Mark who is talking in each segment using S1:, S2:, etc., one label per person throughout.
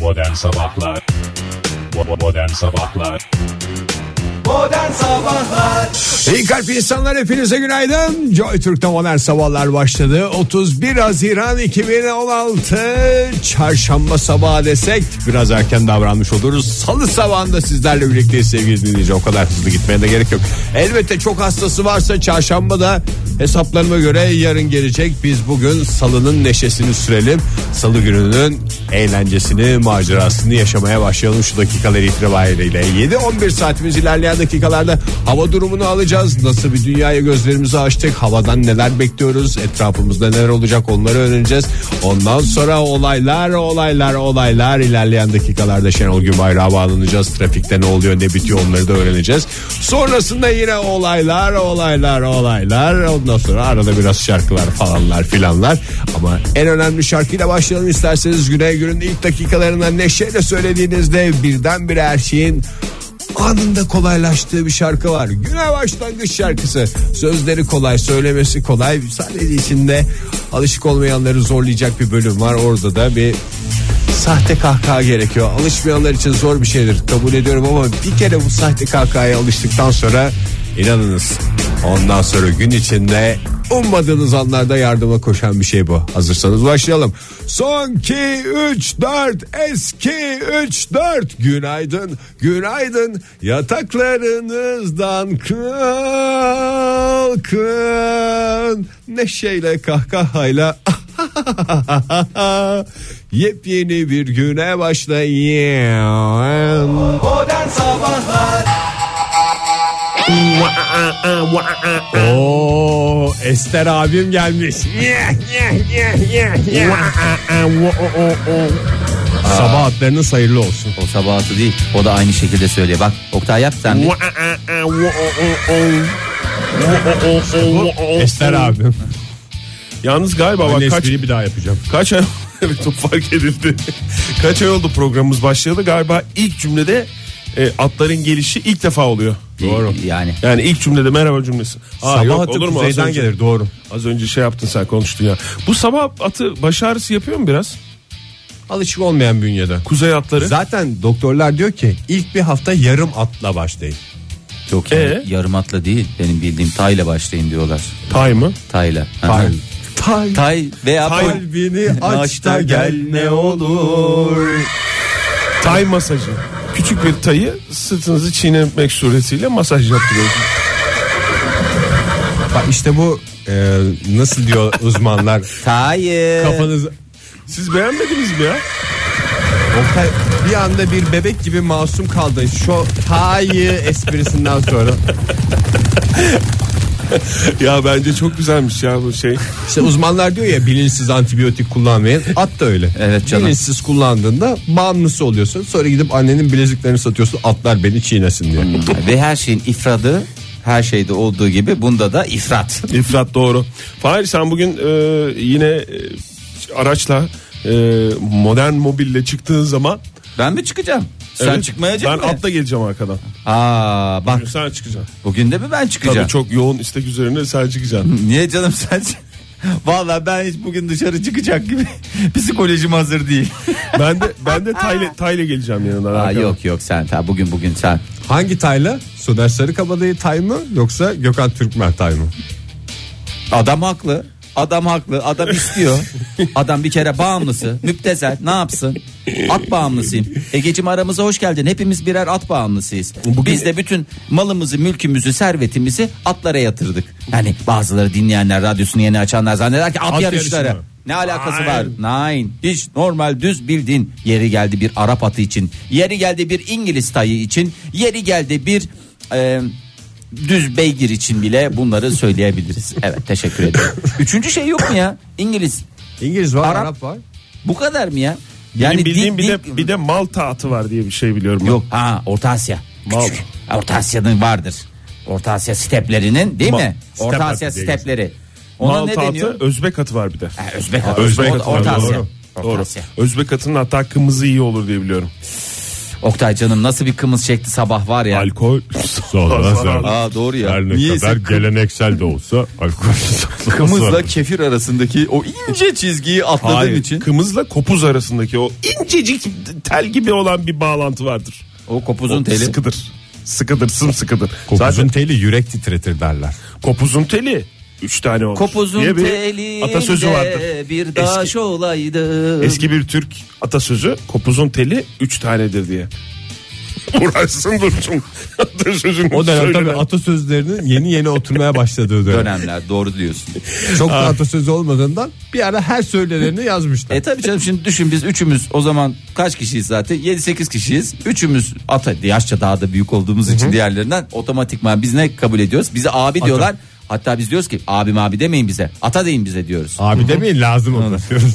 S1: Modern Sabahlar Bo- Modern Sabahlar
S2: Modern Sabahlar
S3: İyi kalp insanlar hepinize günaydın. Joy Türk'te modern sabahlar başladı. 31 Haziran 2016 çarşamba sabahı desek biraz erken davranmış oluruz. Salı sabahında sizlerle birlikteyiz sevgili dinleyici. O kadar hızlı gitmeye de gerek yok. Elbette çok hastası varsa çarşamba da hesaplarıma göre yarın gelecek. Biz bugün salının neşesini sürelim. Salı gününün eğlencesini, macerasını yaşamaya başlayalım şu dakikaları itibariyle. 7-11 saatimiz ilerleyen dakikalarda hava durumunu alacağız. Nasıl bir dünyaya gözlerimizi açtık? Havadan neler bekliyoruz? Etrafımızda neler olacak? Onları öğreneceğiz. Ondan sonra olaylar, olaylar, olaylar ilerleyen dakikalarda Şenol Gümbayrak'a bağlanacağız. Trafikte ne oluyor, ne bitiyor onları da öğreneceğiz. Sonrasında yine olaylar, olaylar, olaylar. Ondan sonra arada biraz şarkılar falanlar filanlar. Ama en önemli şarkıyla başlayalım isterseniz. Güney günün ilk dakikalarında neşeyle söylediğinizde birdenbire her şeyin anında kolaylaştığı bir şarkı var. Güne başlangıç şarkısı. Sözleri kolay, söylemesi kolay. Sadece içinde alışık olmayanları zorlayacak bir bölüm var. Orada da bir sahte kahkaha gerekiyor. Alışmayanlar için zor bir şeydir. Kabul ediyorum ama bir kere bu sahte kahkahaya alıştıktan sonra inanınız. Ondan sonra gün içinde ummadığınız anlarda yardıma koşan bir şey bu. Hazırsanız başlayalım. Son 2 3 4 eski 3 4 günaydın günaydın yataklarınızdan kalkın neşeyle kahkahayla Ah! yepyeni bir güne başlayın.
S2: Modern Sabahlar
S3: Oo, Ester abim gelmiş. Sabah atlarının hayırlı olsun.
S4: O sabahatı değil. O da aynı şekilde söylüyor. Bak Oktay yap sen bir.
S3: Ester abim.
S5: Yalnız galiba
S3: Ben
S5: bak kaç,
S3: espriyi bir daha yapacağım.
S5: kaç ay evet, o fark edildi. kaç ay oldu programımız başlayalı galiba ilk cümlede e, atların gelişi ilk defa oluyor.
S3: Doğru.
S4: Yani.
S5: Yani ilk cümlede merhaba cümlesi. Aa,
S3: Sabah
S5: yok,
S3: atı
S5: olur mu? Az
S3: kuzeyden
S5: önce-
S3: gelir doğru.
S5: Az önce şey yaptın sen konuştun ya. Bu sabah atı baş ağrısı yapıyor mu biraz?
S3: Alışık olmayan bünyede.
S5: Kuzey atları.
S3: Zaten doktorlar diyor ki ilk bir hafta yarım atla başlayın.
S4: Yok yani
S5: Ee?
S4: yarım atla değil. Benim bildiğim tayla başlayın diyorlar.
S5: Tay mı?
S4: Tayla. Hı hı.
S3: Pardon. Pardon.
S4: Tay veya pol-
S3: Kalbini aç da gel ne
S4: olur.
S5: Tay masajı. Küçük bir tayı sırtınızı çiğnemek suretiyle masaj yaptırıyorsunuz.
S3: Bak işte bu e, nasıl diyor uzmanlar
S4: Tay.
S3: kafanız
S5: Ee, Siz beğenmediniz mi ya?
S3: Oktay bir anda bir bebek gibi masum kaldı şu hayı esprisinden sonra
S5: ya bence çok güzelmiş ya bu şey.
S3: işte uzmanlar diyor ya bilinçsiz antibiyotik kullanmayın at da öyle
S4: Evet canım.
S3: bilinçsiz kullandığında bağımlısı oluyorsun sonra gidip annenin bileziklerini satıyorsun atlar beni çiğnesin diye
S5: Hmm.
S4: Ve her şeyin ifradı her şeyde olduğu gibi bunda da ifrat.
S5: İfrat doğru. Fahir sen bugün e, yine e, araçla e, modern mobille çıktığın zaman
S4: Ben mi çıkacağım? Sen
S5: Evet,
S4: çıkmayacak
S5: Ben
S4: mı?
S5: atla geleceğim arkadan.
S4: Aa bak
S5: Sen çıkacaksın.
S4: bugün de mi ben çıkacağım?
S5: Tabii çok yoğun istek üzerine sen çıkacaksın.
S4: Niye canım sen? Vallahi ben hiç bugün dışarı çıkacak gibi psikolojim hazır değil.
S5: ben de ben de Tayle Tayle geleceğim yanına.
S4: Aa,
S5: arkadan.
S4: yok yok sen ta bugün bugün sen.
S3: hangi tayla Soner Sarıkabadayı tay mı yoksa Gökhan Türkmen tay mı
S4: Adam haklı. Adam haklı. Adam istiyor. Adam bir kere bağımlısı. Müptezel. Ne yapsın? At bağımlısıyım. Egeciğim aramıza hoş geldin. Hepimiz birer at bağımlısıyız. Biz de bütün malımızı, mülkümüzü, servetimizi atlara yatırdık. Yani bazıları dinleyenler, radyosunu yeni açanlar zanneder ki at, yarışları.
S5: yarışı mı?
S4: Ne alakası var? Nine. Hiç normal düz bildin. Yeri geldi bir Arap atı için. Yeri geldi bir İngiliz tayı için. Yeri geldi bir e, düz beygir için bile bunları söyleyebiliriz. Evet teşekkür ederim. Üçüncü şey yok mu ya? İngiliz.
S3: İngiliz var
S4: Arap.
S3: Arap var
S4: Bu kadar mı ya?
S5: Benim
S4: Yani
S5: bildiğim
S4: dil-
S5: bir
S4: dil-
S5: de bir de Malta atı var diye bir şey biliyorum. ben.
S4: Yok ha Orta Asya.
S5: Mal.
S4: Küçük. Orta Asya'nın vardır. Orta Asya steplerinin değil
S5: Ma-
S4: mi?
S5: Step
S4: Orta
S5: atı
S4: Asya
S5: diye geçiyor.
S4: stepleri. Ona ne
S5: Malta
S4: deniyor?
S5: atı, Özbek atı var bir de.
S4: Ha, Özbek atı.
S5: Özbek
S4: Or-
S5: atı var,
S4: Orta Asya.
S5: Doğru.
S4: Orta
S5: Doğru.
S4: Asya.
S5: Özbek atının hatta kımızı iyi olur diye biliyorum.
S4: Oktay canım nasıl bir kımız çekti sabah var ya.
S5: Alkol
S1: Sonra zarar.
S4: Aa doğru ya.
S1: Her ne
S4: Niyeyse
S1: kadar geleneksel de olsa alkolsüz
S4: kımızla kefir arasındaki o ince çizgiyi atladığın
S5: Hayır,
S4: için
S5: kımızla kopuz arasındaki o incecik tel gibi olan bir bağlantı vardır.
S4: o kopuzun teli.
S5: Sıkıdır. Sıkıdır, sımsıkıdır.
S3: Kopuzun
S5: Zaten
S3: teli yürek titretir derler.
S5: kopuzun teli üç tane olur.
S4: Kopuzun
S5: diye bir
S4: telinde
S5: atasözü vardır.
S4: bir daş
S5: Eski-
S4: olaydı.
S5: Eski bir Türk atasözü kopuzun teli üç tanedir diye. Uğraşsın dursun. Atasözünü
S3: O dönem tabii
S5: söyle.
S3: atasözlerinin yeni yeni oturmaya başladığı dönem.
S4: dönemler doğru diyorsun. E,
S3: Çok da atasözü olmadığından bir ara her söyleneni yazmışlar.
S4: E tabii canım şimdi düşün biz üçümüz o zaman kaç kişiyiz zaten? 7-8 kişiyiz. Üçümüz ata yaşça daha da büyük olduğumuz için diğerlerinden otomatikman biz ne kabul ediyoruz? Bize abi diyorlar. Hatta biz diyoruz ki abim abi demeyin bize. Ata deyin bize diyoruz.
S3: Abi demeyin lazım ona diyoruz.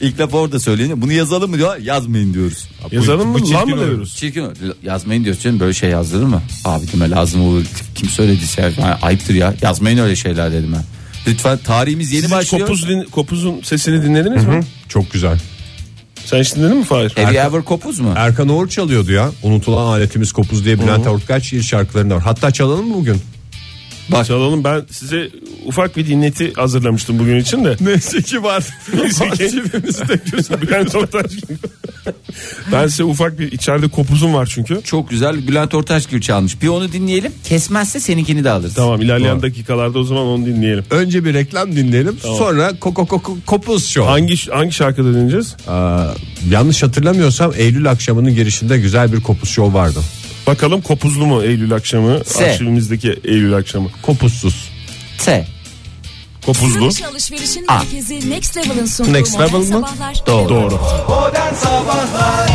S4: İlk laf orada söyleniyor. Bunu yazalım mı diyorlar? Yazmayın diyoruz.
S5: Yazalım mı
S3: Bu
S5: lan
S3: çirkin
S5: mı
S3: olur.
S5: diyoruz?
S4: Çirkin o. yazmayın diyoruz canım böyle şey yazdırır mı? Abi deme lazım olur. Kim söylediyse yani ayıptır ya. Yazmayın öyle şeyler dedim ben. Lütfen tarihimiz yeni
S5: Siz hiç
S4: başlıyor.
S5: kopuz, din- kopuzun sesini dinlediniz mi?
S3: Çok güzel.
S5: Sen hiç dinledin mi Fahir?
S4: Have you ever kopuz mu?
S3: Erkan Oğur çalıyordu ya. Unutulan aletimiz kopuz diye Bülent Ortaç şiir şarkılarında var. Hatta çalalım mı bugün?
S5: Çalalım ben size ufak bir dinleti hazırlamıştım bugün için de.
S3: Neyse ki var. Arşivimizde
S5: Bülent Ortaç. ben size ufak bir içeride kopuzum var çünkü.
S4: Çok güzel Bülent Ortaç gibi çalmış. Bir onu dinleyelim. Kesmezse seninkini de alırız.
S5: Tamam ilerleyen dakikalarda o zaman onu dinleyelim.
S3: Önce bir reklam dinleyelim. Sonra koko koko kopuz şu.
S5: Hangi hangi şarkıda dinleyeceğiz?
S3: yanlış hatırlamıyorsam Eylül akşamının girişinde güzel bir kopuz şov vardı.
S5: Bakalım kopuzlu mu Eylül akşamı?
S4: Se.
S5: Arşivimizdeki Eylül akşamı.
S3: Kopuzsuz.
S4: T.
S5: Kopuzlu.
S6: Satış alışverişin merkezi Next Level'ın sunduğu
S3: Next
S6: modern
S3: Level mı?
S6: sabahlar.
S5: Doğru.
S2: Modern Sabahlar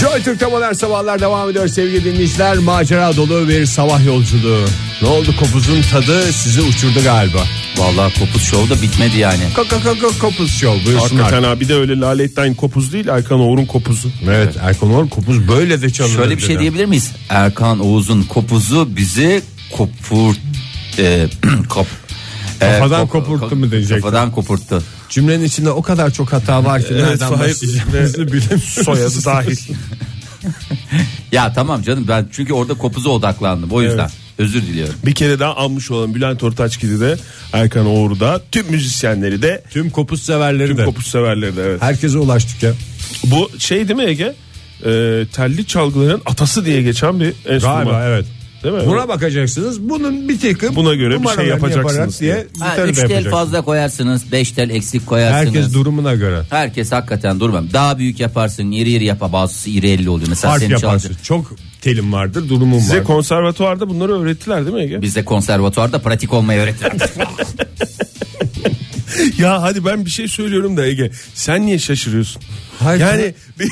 S3: Joy Türk'te modern sabahlar devam ediyor sevgili dinleyiciler. Macera dolu bir sabah yolculuğu. Ne oldu kopuzun tadı sizi uçurdu galiba.
S4: Vallahi kopuz şovu da bitmedi yani.
S3: Koko koko kopuz şov buyursunlar.
S5: Hakikaten abi de öyle Lale Ettin kopuz değil Erkan Oğur'un kopuzu.
S3: Evet Erkan Oğur kopuz böyle de çalınır.
S4: Şöyle bir şey
S3: dedi.
S4: diyebilir miyiz? Erkan Oğuz'un kopuzu bizi kopur... E, kop, e,
S3: Kafadan kopurttu mu diyecektim.
S4: Kafadan kopurttu.
S3: Cümlenin içinde o kadar çok hata var ki nereden
S5: Fahir
S3: başlayacağımızı bilemiyoruz.
S5: Soyadı dahil.
S4: Ya tamam canım ben çünkü orada kopuza odaklandım o yüzden. Özür diliyorum.
S5: Bir kere daha anmış olan Bülent Ortaçgil'i de Erkan Oğur'u da tüm müzisyenleri de
S3: Tüm kopuz severleri
S5: tüm
S3: de.
S5: kopuz severleri de evet.
S3: Herkese ulaştık ya.
S5: Bu şey değil mi Ege? Ee, telli çalgıların atası diye geçen bir enstrüman.
S3: Galiba evet.
S5: Değil mi?
S3: Buna bakacaksınız. Bunun bir tıkı
S5: Buna göre bir şey
S3: numaralarını
S5: yapacaksınız
S3: yaparak
S5: diye.
S3: diye.
S4: Ha,
S3: gitarı
S4: üç
S3: da
S4: tel
S3: yapacaksınız.
S4: fazla koyarsınız, beş tel eksik koyarsınız.
S3: Herkes durumuna göre.
S4: Herkes hakikaten durmam. Daha büyük yaparsın, iri iri yapar. Bazısı iri elli oluyor. Mesela
S3: Harf
S4: senin
S3: yaparsın.
S4: çalacak-
S3: Çok telim vardır, durumum
S5: Size
S3: vardır.
S5: konservatuvarda bunları öğrettiler değil mi Ege?
S4: Bize konservatuvarda pratik olmayı öğrettiler.
S5: Ya hadi ben bir şey söylüyorum da Ege. Sen niye şaşırıyorsun?
S3: Hayır,
S5: yani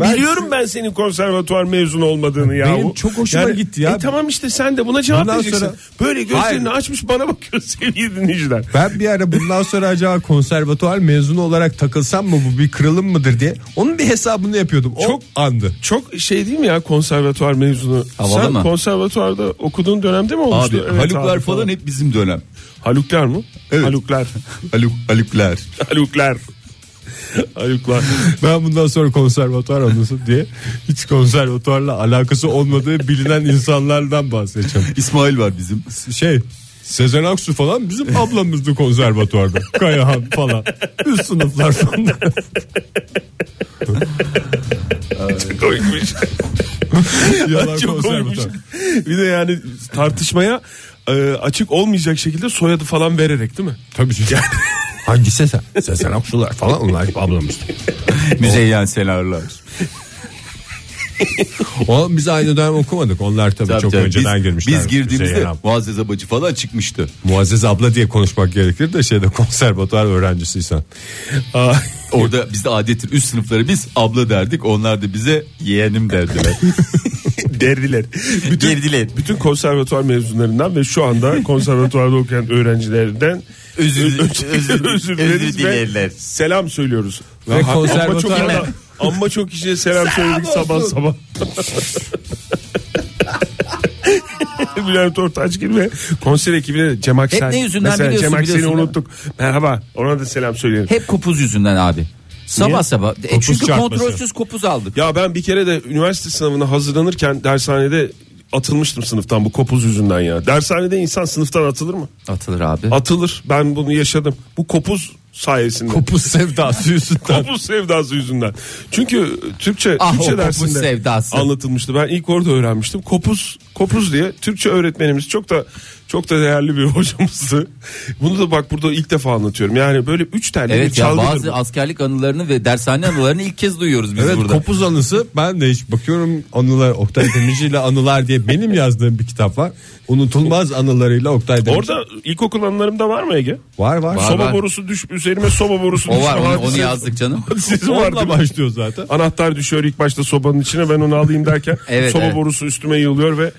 S3: Ben-
S5: biliyorum ben senin konservatuvar mezunu olmadığını ya.
S3: Benim çok hoşuma gitti ya.
S5: E tamam işte sen de buna cevap
S3: Bundan
S5: vereceksin.
S3: sonra-
S5: Böyle gözlerini
S3: Hayır.
S5: açmış bana bakıyor sevgili dinleyiciler.
S3: Ben bir ara bundan sonra acaba konservatuvar mezunu olarak takılsam mı bu bir kırılım mıdır diye. Onun bir hesabını yapıyordum. O
S5: Çok-
S3: Çok andı.
S5: Çok şey değil mi ya konservatuvar mezunu?
S4: Havalı
S5: sen
S4: mı?
S5: konservatuvarda okuduğun dönemde mi olmuştu? Evet abi
S4: hep bizim dönem.
S5: Haluklar mı? Haluklar.
S4: Haluk, haluklar.
S5: Haluklar. Haluklar.
S3: Ben bundan sonra konservatuvar anlasın diye hiç konservatuvarla alakası olmadığı bilinen insanlardan bahsedeceğim.
S4: İsmail var bizim.
S3: Şey Sezen Aksu falan bizim ablamızdı konservatuvarda. Kayahan falan. Üst sınıflardan da.
S5: Koymuş.
S3: Yalan
S5: Çok komikmiş.
S3: konservatuvar.
S5: Bir de yani tartışmaya e, açık olmayacak şekilde soyadı falan vererek değil mi?
S3: Tabii ki. Hangi Sezen? Sezen Aksular falan onlar hep ablamızdı.
S4: Müzeyyen Senarlar.
S3: O, biz aynı dönem Ee, okumadık. Onlar tabii, çok önceden girmişler. Hüseyin abi.
S4: Muazzez Abacı falan çıkmıştı.
S3: Muazzez abla diye konuşmak gerekir de şeyde konservatuvar öğrencisiysen.
S5: Aa,
S4: Orada bizde adettir üst sınıfları biz abla derdik onlar da bize yeğenim derdiler.
S5: derdiler. Bütün,
S4: Derdiler.
S5: Bütün konservatuvar mezunlarından ve şu anda konservatuvarda okuyan öğrencilerden
S4: Özür- özür- özür
S5: dileriz ve
S4: dilerler.
S5: Selam söylüyoruz.
S3: Ve
S5: Ama çok,
S3: konservatuvar
S5: ama, ama çok kişiye selam söyledik sabah sabah. Bülent Ortaçgil ve konser ekibine de Cem Aksel.
S4: ne yüzünden
S5: Mesela
S4: biliyorsun,
S5: Cem Aksel'i
S4: biliyorsun değil mi?
S5: unuttuk. Merhaba ona da selam söyleyelim.
S4: Hep kopuz yüzünden abi. Sabah sabah. E
S3: Kopuz
S4: çünkü
S3: çarpması.
S4: kontrolsüz kopuz aldık.
S5: Ya ben bir kere de üniversite sınavına hazırlanırken dershanede atılmıştım sınıftan bu kopuz yüzünden ya. Dershanede insan sınıftan atılır mı?
S4: Atılır abi.
S5: Atılır. Ben bunu yaşadım. Bu kopuz sayesinde.
S3: Kopuz sevdası yüzünden.
S5: Kopuz sevdası yüzünden. Çünkü Türkçe
S4: Ah, o
S5: Türkçe
S4: kopuz
S5: dersinde
S4: sevdası.
S5: anlatılmıştı. Ben ilk orada öğrenmiştim. Kopuz kopuz diye Türkçe öğretmenimiz çok da çok da değerli bir hocamızdı. Bunu da bak burada ilk defa anlatıyorum. Yani böyle üç tane bir
S4: Evet ya
S5: çalgıdır
S4: bazı
S5: bu.
S4: askerlik anılarını ve dershane anılarını ilk kez duyuyoruz biz
S3: Evet
S4: burada.
S3: kopuz anısı ben de hiç bakıyorum anılar Oktay Demirci ile anılar diye benim yazdığım bir kitap var. Unutulmaz anılarıyla Oktay Demirci.
S5: Orada ilkokul anılarımda var mı Ege?
S3: var var.
S4: Var.
S5: soba borusu düş üzerime soba borusu
S4: o
S5: düşme
S4: var onu, onu
S5: hadisesi-
S4: yazdık canım.
S5: hadisesi var
S3: Onunla
S5: değil mi?
S3: başlıyor zaten.
S5: Anahtar düşüyor ilk başta sobanın içine ben onu alayım derken
S4: Evet,
S5: soba
S4: evet.
S5: borusu üstüme yığılıyor ve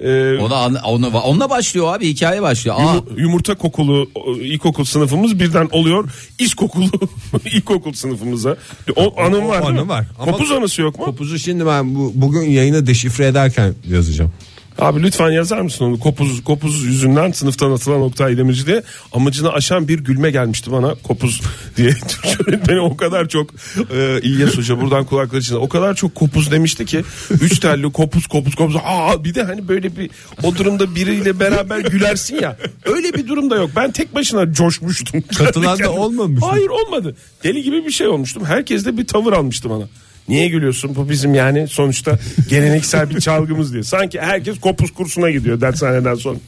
S5: e,
S4: Ona, an- ona, onunla başlıyor abi hikaye başlıyor. Aa,
S5: Yumu- yumurta kokulu o, ilkokul sınıfımız birden oluyor iş kokulu ilkokul sınıfımıza. O anım var.
S3: O
S5: değil mi?
S3: anı var. Ama-
S5: Kopuz anısı yok mu?
S3: Kopuzu şimdi ben bu, bugün yayını deşifre ederken yazacağım.
S5: Abi lütfen yazar mısın onu? Kopuz kopuz yüzünden sınıftan atılan Oktay Demirci diye amacını aşan bir gülme gelmişti bana kopuz diye. Türkçe öğretmeni o kadar çok e, İlyas Hoca buradan kulakları için o kadar çok kopuz demişti ki üç telli kopuz kopuz kopuz. Aa bir de hani böyle bir o durumda biriyle beraber gülersin ya. Öyle bir durum da yok. Ben tek başına coşmuştum.
S3: Katılan da olmamış mı?
S5: Hayır olmadı. Deli gibi bir şey olmuştum. Herkes de bir tavır almıştı bana. Niye gülüyorsun? Bu bizim yani sonuçta geleneksel bir çalgımız diye. Sanki herkes kopuz kursuna gidiyor dershaneden sonra.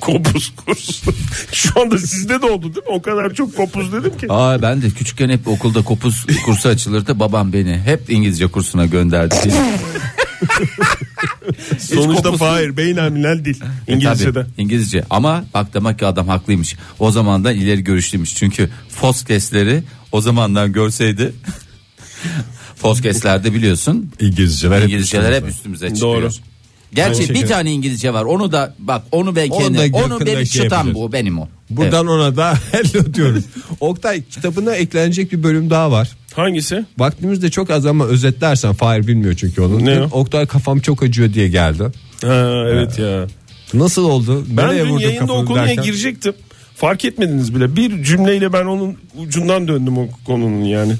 S5: Kopuz kursu. Şu anda sizde de oldu değil mi? O kadar çok kopuz dedim ki.
S4: Aa ben de küçükken hep okulda kopuz kursu açılırdı. Babam beni hep İngilizce kursuna gönderdi.
S5: Sonuçta Fahir Beynelminel dil. İngilizce'de.
S4: Tabii, İngilizce. Ama bak demek ki adam haklıymış. O zamandan ileri görüşlüymüş. Çünkü Foskesleri o zamandan görseydi Foskeslerde biliyorsun
S3: İngilizceler. hep
S4: İngilizceler hep üstümüze çıkıyor.
S5: Doğru.
S4: Gerçi
S3: Doğru.
S4: bir tane İngilizce var. Onu da bak onu ben
S3: Onu
S4: kendim-
S3: da
S4: onu
S3: yakında
S4: benim
S3: şey
S4: çıtam
S3: yapacağız.
S4: bu benim o.
S3: Buradan ona da hello diyoruz. Oktay kitabına eklenecek bir bölüm daha var.
S5: Hangisi?
S3: Vaktimiz de çok az ama özetlersen Fahir bilmiyor çünkü onu.
S5: Ne o?
S3: Oktay kafam çok acıyor diye geldi.
S5: Ha, evet ya.
S3: Nasıl oldu?
S5: Ben
S3: Nereye
S5: dün
S3: vurdun
S5: yayında o
S3: kafanı
S5: konuya
S3: derken?
S5: girecektim. Fark etmediniz bile. Bir cümleyle ben onun ucundan döndüm o konunun yani.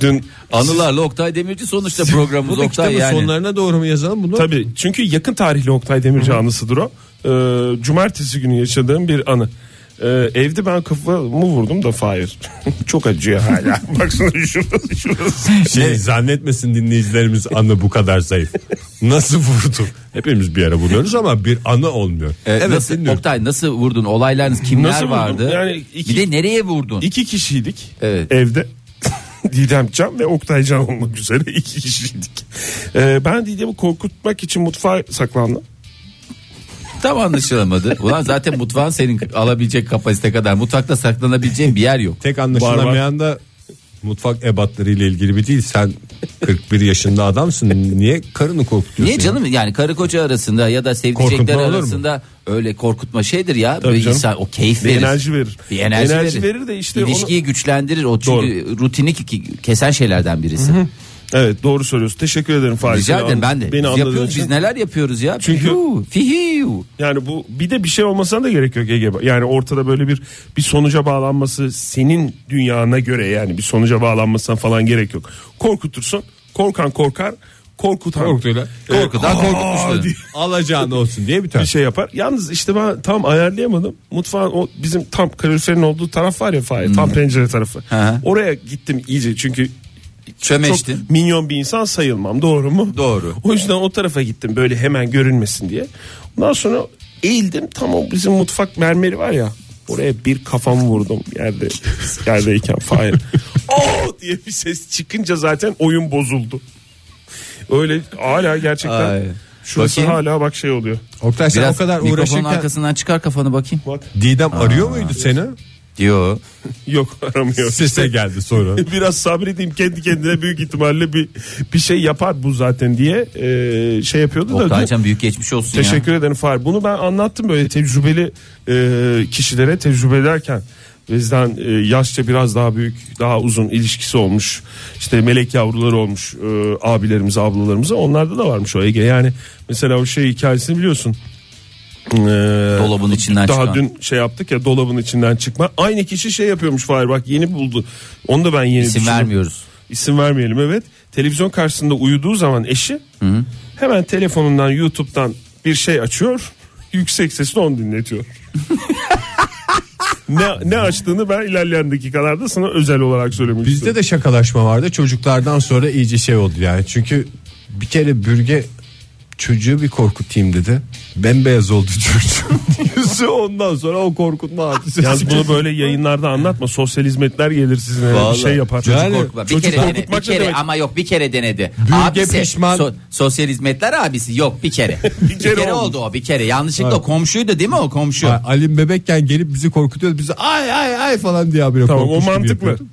S5: Dün
S4: Anılarla Oktay Demirci sonuçta programımız
S3: Bunu
S4: Oktay
S3: kitabın
S4: yani.
S3: sonlarına doğru mu yazalım bunu?
S5: Tabii çünkü yakın tarihli Oktay Demirci anısıdır o. Ee, cumartesi günü yaşadığım bir anı. Ee, evde ben kafamı vurdum da Fahir. Çok acıyor hala. Baksana şurası şurası.
S3: Şey zannetmesin dinleyicilerimiz anı bu kadar zayıf. Nasıl vurdu? Hepimiz bir yere vuruyoruz ama bir anı olmuyor.
S4: Ee,
S3: evet
S4: nasıl,
S3: dinliyorum.
S4: Oktay nasıl vurdun? Olaylarınız kimler
S5: E, Nasıl vurdum?
S4: vardı?
S5: Yani iki-
S4: Bir de nereye vurdun?
S5: İki kişiydik
S4: Evet.
S5: evde. Didem Can ve Oktay Can olmak üzere iki kişiydik. Ee, ben Didem'i korkutmak için mutfağa saklandım.
S4: Tam anlaşılamadı. Ulan zaten mutfağın senin alabilecek kapasite kadar. Mutfakta saklanabileceğin bir yer yok.
S3: Tek anlaşılamayan da mutfak ebatları ile ilgili bir değil. Sen 41 yaşında adamsın. Niye karını korkutuyorsun?
S4: Niye
S3: ya?
S4: canım yani karı koca arasında ya da sevdicekler
S3: Korkutma olur mu?
S4: arasında öyle korkutma şeydir ya.
S5: Tabii
S4: Böyle
S5: canım.
S4: insan o keyif
S5: Bir
S4: verir.
S5: enerji verir.
S4: Bir enerji,
S5: Enerji verir de işte onu-
S4: İlişkiyi güçlendirir. O çünkü rutini ki- ki- kesen şeylerden birisi.
S5: Evet doğru söylüyorsun. Teşekkür ederim Fahir.
S4: Rica
S5: Seni
S4: ederim
S5: an-
S4: ben de.
S5: Beni
S4: biz
S5: anladığın
S4: yapıyoruz
S5: için.
S4: biz neler yapıyoruz ya.
S5: Çünkü-
S4: Fihiu, fihiu.
S5: Yani bu bir de bir şey olmasına da gerek yok Ege. Yani ortada böyle bir bir sonuca bağlanması senin dünyana göre yani bir sonuca bağlanmasına falan gerek yok. Korkutursun. Korkan korkar. Korkutan.
S3: Korkutuyla.
S4: Korkudan
S5: Aa,
S4: korkutmuştu.
S5: diye
S3: Alacağın olsun diye bir
S5: bir
S3: tane.
S5: şey yapar. Yalnız işte ben tam ayarlayamadım. Mutfağın o bizim tam kaloriferin olduğu taraf var ya Fahir. Tam pencere tarafı.
S4: hı.
S5: Oraya gittim iyice çünkü
S4: Çömeştin.
S5: çok minyon bir insan sayılmam doğru mu?
S4: Doğru.
S5: O yüzden o tarafa gittim böyle hemen görünmesin diye. Ondan sonra eğildim tam o bizim mutfak mermeri var ya. Oraya bir kafamı vurdum yerde yerdeyken Fahir. Oo diye bir ses çıkınca zaten oyun bozuldu. Öyle hala gerçekten
S4: Ay.
S5: şurası
S4: Bakayım.
S5: hala bak şey oluyor.
S3: Oktay sen
S4: Biraz
S3: o kadar
S4: mikrofonun
S3: uğraşırken
S4: arkasından çıkar kafanı bakayım.
S3: Didem arıyor muydu seni?
S4: Diyor.
S5: Yok aramıyor.
S3: Sese geldi sonra.
S5: Biraz sabredeyim kendi kendine büyük ihtimalle bir bir şey yapar bu zaten diye e, şey yapıyordu da. dün-
S4: Oktaycan büyük geçmiş olsun ya.
S5: Teşekkür ederim Fahir. Bunu ben anlattım böyle tecrübeli e, kişilere tecrübe ederken. Bizden e, yaşça biraz daha büyük, daha uzun ilişkisi olmuş. işte melek yavruları olmuş e, abilerimize, ablalarımıza. Onlarda da varmış o Ege. Yani mesela o şey hikayesini biliyorsun. E,
S4: Dolabın içinden
S5: daha
S4: çıkan.
S5: dün şey yaptık ya dolabın içinden çıkma. Aynı kişi şey yapıyormuş Fahir bak yeni buldu. Onu da ben yeni
S4: İsim
S5: düşündüm.
S4: vermiyoruz.
S5: İsim vermeyelim evet. Televizyon karşısında uyuduğu zaman eşi Hemen telefonundan YouTube'dan bir şey açıyor. Yüksek sesle onu dinletiyor. ne, ne açtığını ben ilerleyen dakikalarda sana özel olarak söylemek
S7: Bizde de şakalaşma vardı. Çocuklardan sonra iyice şey oldu yani. Çünkü bir kere bürge çocuğu bir korkutayım dedi. Bembeyaz oldu çocuğun yüzü ondan sonra o korkutma hadisesi.
S5: Yalnız bunu böyle yayınlarda anlatma. Sosyal hizmetler gelir sizin bir şey yapar.
S7: Yani-
S4: Korkma. Bir
S5: Çocuk
S4: kere, denedi, bir
S5: korkutmak ne
S4: kere
S5: demek?
S4: ama yok bir kere denedi.
S7: Bürge pişman.
S4: sosyal hizmetler abisi yok bir kere. bir, kere
S5: kere oldu.
S4: oldu o bir kere. Yanlışlıkla komşuydu değil mi o komşu?
S7: Ya Alim bebekken gelip bizi korkutuyordu. Bizi ay ay ay falan diye habire
S5: Tamam,
S7: korkmuş
S5: o
S7: gibi
S5: mantıklı.
S7: yapıyordu.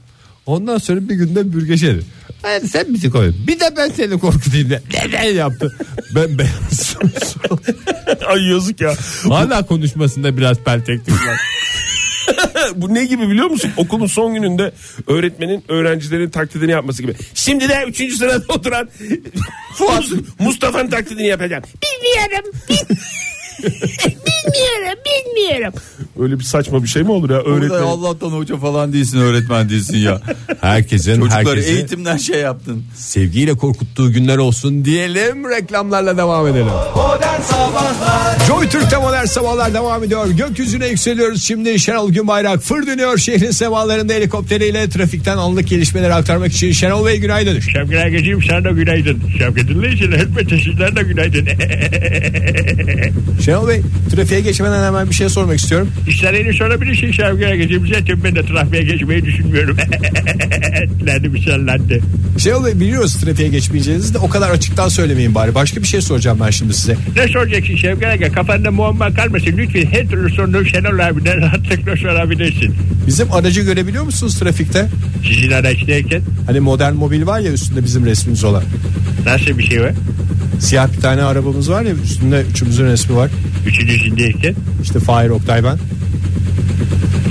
S7: Ondan sonra bir günde bürge şey dedi. Hayır sen bizi koy. Bir de ben seni korkutayım diye. Ne ne yaptı. Ben beyaz.
S5: Ay yazık ya.
S7: Hala konuşmasında biraz peltektik var.
S5: Bu ne gibi biliyor musun? Okulun son gününde öğretmenin öğrencilerin taklidini yapması gibi. Şimdi de 3. sırada oturan Fuat Mustafa'nın taklidini yapacağım.
S8: Bilmiyorum. bil- bilmiyorum. Bilmiyorum.
S5: Öyle bir saçma bir şey mi olur ya öğretmen?
S4: Allah'tan hoca falan değilsin öğretmen değilsin ya.
S7: Herkesin
S4: Çocukları
S7: herkesi
S4: eğitimden şey yaptın.
S7: sevgiyle korkuttuğu günler olsun diyelim. Reklamlarla devam edelim.
S2: Modern Sabahlar
S3: Joy Türk'te modern sabahlar devam ediyor. Gökyüzüne yükseliyoruz şimdi. Şenol Günbayrak fır dönüyor şehrin sevalarında helikopteriyle trafikten anlık gelişmeleri aktarmak için. Şenol Bey günaydın.
S9: Şevket Ergeciğim sen de günaydın. Şevket Dinleyiciler elbette sizler de günaydın.
S3: Şenol Bey trafiğe geçmeden hemen bir şey sormak istiyorum.
S9: İstediğini sorabilirsin Şevket Ergeciğim. Zaten ben de trafiğe geçmeyi düşünmüyorum. Etlendim sallandı.
S3: Şenol Bey biliyoruz trafiğe geçmeyeceğinizi de o kadar açıktan söylemeyin bari. Başka bir şey soracağım ben şimdi size.
S9: Ne soracaksın Şevket Erge? Kafanda muamma kalmasın. Lütfen her türlü sorunu Şenol abiden rahatlıkla sorabilirsin.
S3: Bizim aracı görebiliyor musunuz trafikte?
S9: Sizin araçtayken
S3: Hani modern mobil var ya üstünde bizim resmimiz olan.
S9: nasıl bir şey var?
S3: Siyah bir tane arabamız var ya üstünde üçümüzün resmi var.
S9: Üçüncüsündeyken.
S3: İşte Fahir Oktay ben.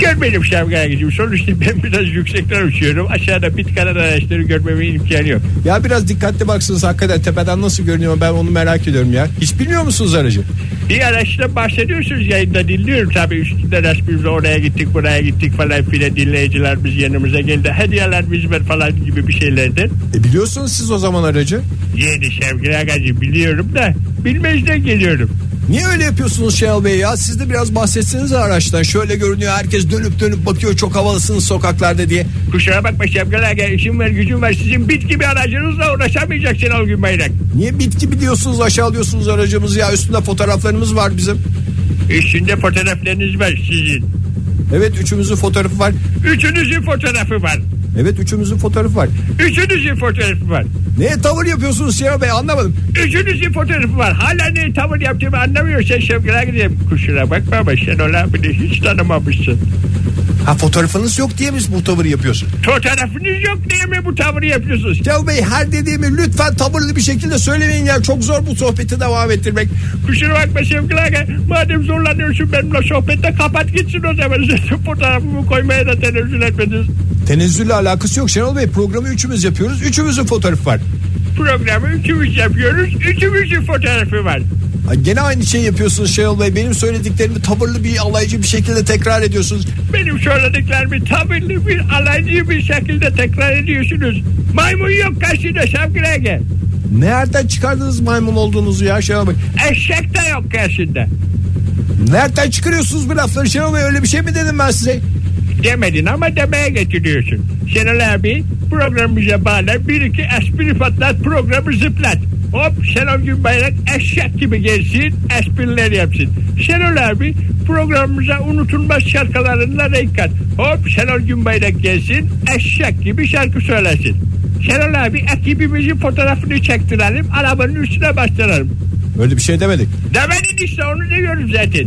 S9: Görmedim Şevket Ergeciğim. Sonuçta ben biraz yüksekten uçuyorum. Aşağıda bit kalan araçları görmemin imkanı yok.
S3: Ya biraz dikkatli baksanız hakikaten tepeden nasıl görünüyor ben onu merak ediyorum ya. Hiç bilmiyor musunuz aracı?
S9: Bir araçta bahsediyorsunuz yayında dinliyorum tabii üstünde resmimiz oraya gittik buraya gittik falan filan dinleyicilerimiz yanımıza geldi. Hediyeler bizber falan gibi bir şeylerden.
S3: E biliyorsunuz siz o zaman aracı.
S9: Yeni sevgili Agacı biliyorum da bilmezden geliyorum.
S3: Niye öyle yapıyorsunuz Şenol Bey ya? Siz de biraz bahsetseniz araçtan. Şöyle görünüyor herkes dönüp dönüp bakıyor çok havalısınız sokaklarda diye.
S9: Kusura bakma Şevkal Aga işim var gücüm var sizin bit gibi aracınızla uğraşamayacaksın o gün bayrak.
S3: Niye bit gibi diyorsunuz aşağılıyorsunuz aracımızı ya üstünde fotoğraflarımız var bizim.
S9: Üstünde fotoğraflarınız var sizin.
S3: Evet üçümüzün fotoğrafı var.
S9: Üçünüzün fotoğrafı var.
S3: Evet üçümüzün fotoğrafı var.
S9: Üçünüzün fotoğrafı var.
S3: Neye tavır yapıyorsunuz Şenol Bey anlamadım.
S9: Üçünüzün fotoğrafı var. Hala ne tavır yaptığımı anlamıyorsan Şevkal Agacığım. Kusura bakma ama Şenol abini hiç tanımamışsın.
S3: Ha fotoğrafınız yok diye mi bu tavır yapıyorsun?
S9: Fotoğrafınız yok diye mi bu tavrı yapıyorsunuz?
S3: Şenol Bey her dediğimi lütfen tavırlı bir şekilde söylemeyin ya. Çok zor bu sohbeti devam ettirmek.
S9: Kusura bakma Şevkal Aga. Madem zorlanıyorsun benimle sohbette kapat gitsin o zaman. Zaten fotoğrafımı koymaya da tenezzül etmediniz.
S3: Tenezzülle alakası yok Şenol Bey. Programı üçümüz yapıyoruz. Üçümüzün fotoğrafı var.
S9: Programı üçümüz yapıyoruz. Üçümüzün fotoğrafı var.
S3: Ay, Gene aynı şey yapıyorsunuz Şenol Bey. Benim söylediklerimi tavırlı bir alaycı bir şekilde tekrar ediyorsunuz.
S9: Benim söylediklerimi tavırlı bir alaycı bir şekilde tekrar ediyorsunuz. Maymun yok karşıda Şevkal Aga.
S3: Nereden çıkardınız maymun olduğunuzu ya Şenol Bey?
S9: Eşek de yok karşında.
S3: Nereden çıkarıyorsunuz bu lafları Şenol Bey? Öyle bir şey mi dedim ben size?
S9: Demedin ama demeye getiriyorsun. Şenol abi programımıza bağlar. Bir iki espri patlat programı zıplat. Hop Şenol Günbayrak eşek gibi gelsin espriler yapsın. Şenol abi programımıza unutulmaz şarkılarında renk kat. Hop Şenol Günbayrak gelsin eşek gibi şarkı söylesin. Şenol abi ekibimizin fotoğrafını çektirelim arabanın üstüne bastıralım.
S3: Öyle bir şey demedik.
S9: Demedin işte onu diyorum zaten.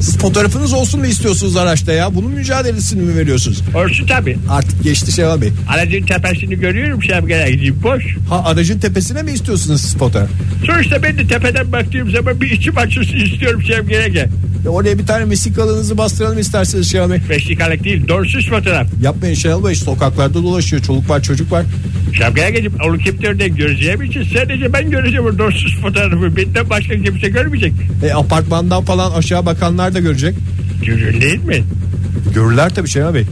S3: Siz fotoğrafınız olsun mu istiyorsunuz araçta ya? Bunun mücadelesini mi veriyorsunuz?
S9: Olsun tabi.
S3: Artık geçti Şenol Bey.
S9: Aracın tepesini görüyorum Şevkal Gideyim boş.
S3: Ha aracın tepesine mi istiyorsunuz siz fotoğraf?
S9: Sonuçta ben de tepeden baktığım zaman bir içim açılsın istiyorum Şevkir'e gel.
S3: Ya E, Oraya bir tane vesikalınızı bastıralım isterseniz Şenol Bey.
S9: Beşlikalık değil donsuz fotoğraf.
S3: Yapmayın Şenol Bey sokaklarda dolaşıyor. Çoluk var çocuk var.
S9: Şevkir'e gelip onu kimlerden göreceğim için sadece ben göreceğim o donsuz fotoğrafı. Benden başka kimse görmeyecek.
S3: E, apartmandan falan aşağı bakanlar da görecek.
S9: Görün değil mi?
S3: Görürler tabii Şenol Bey.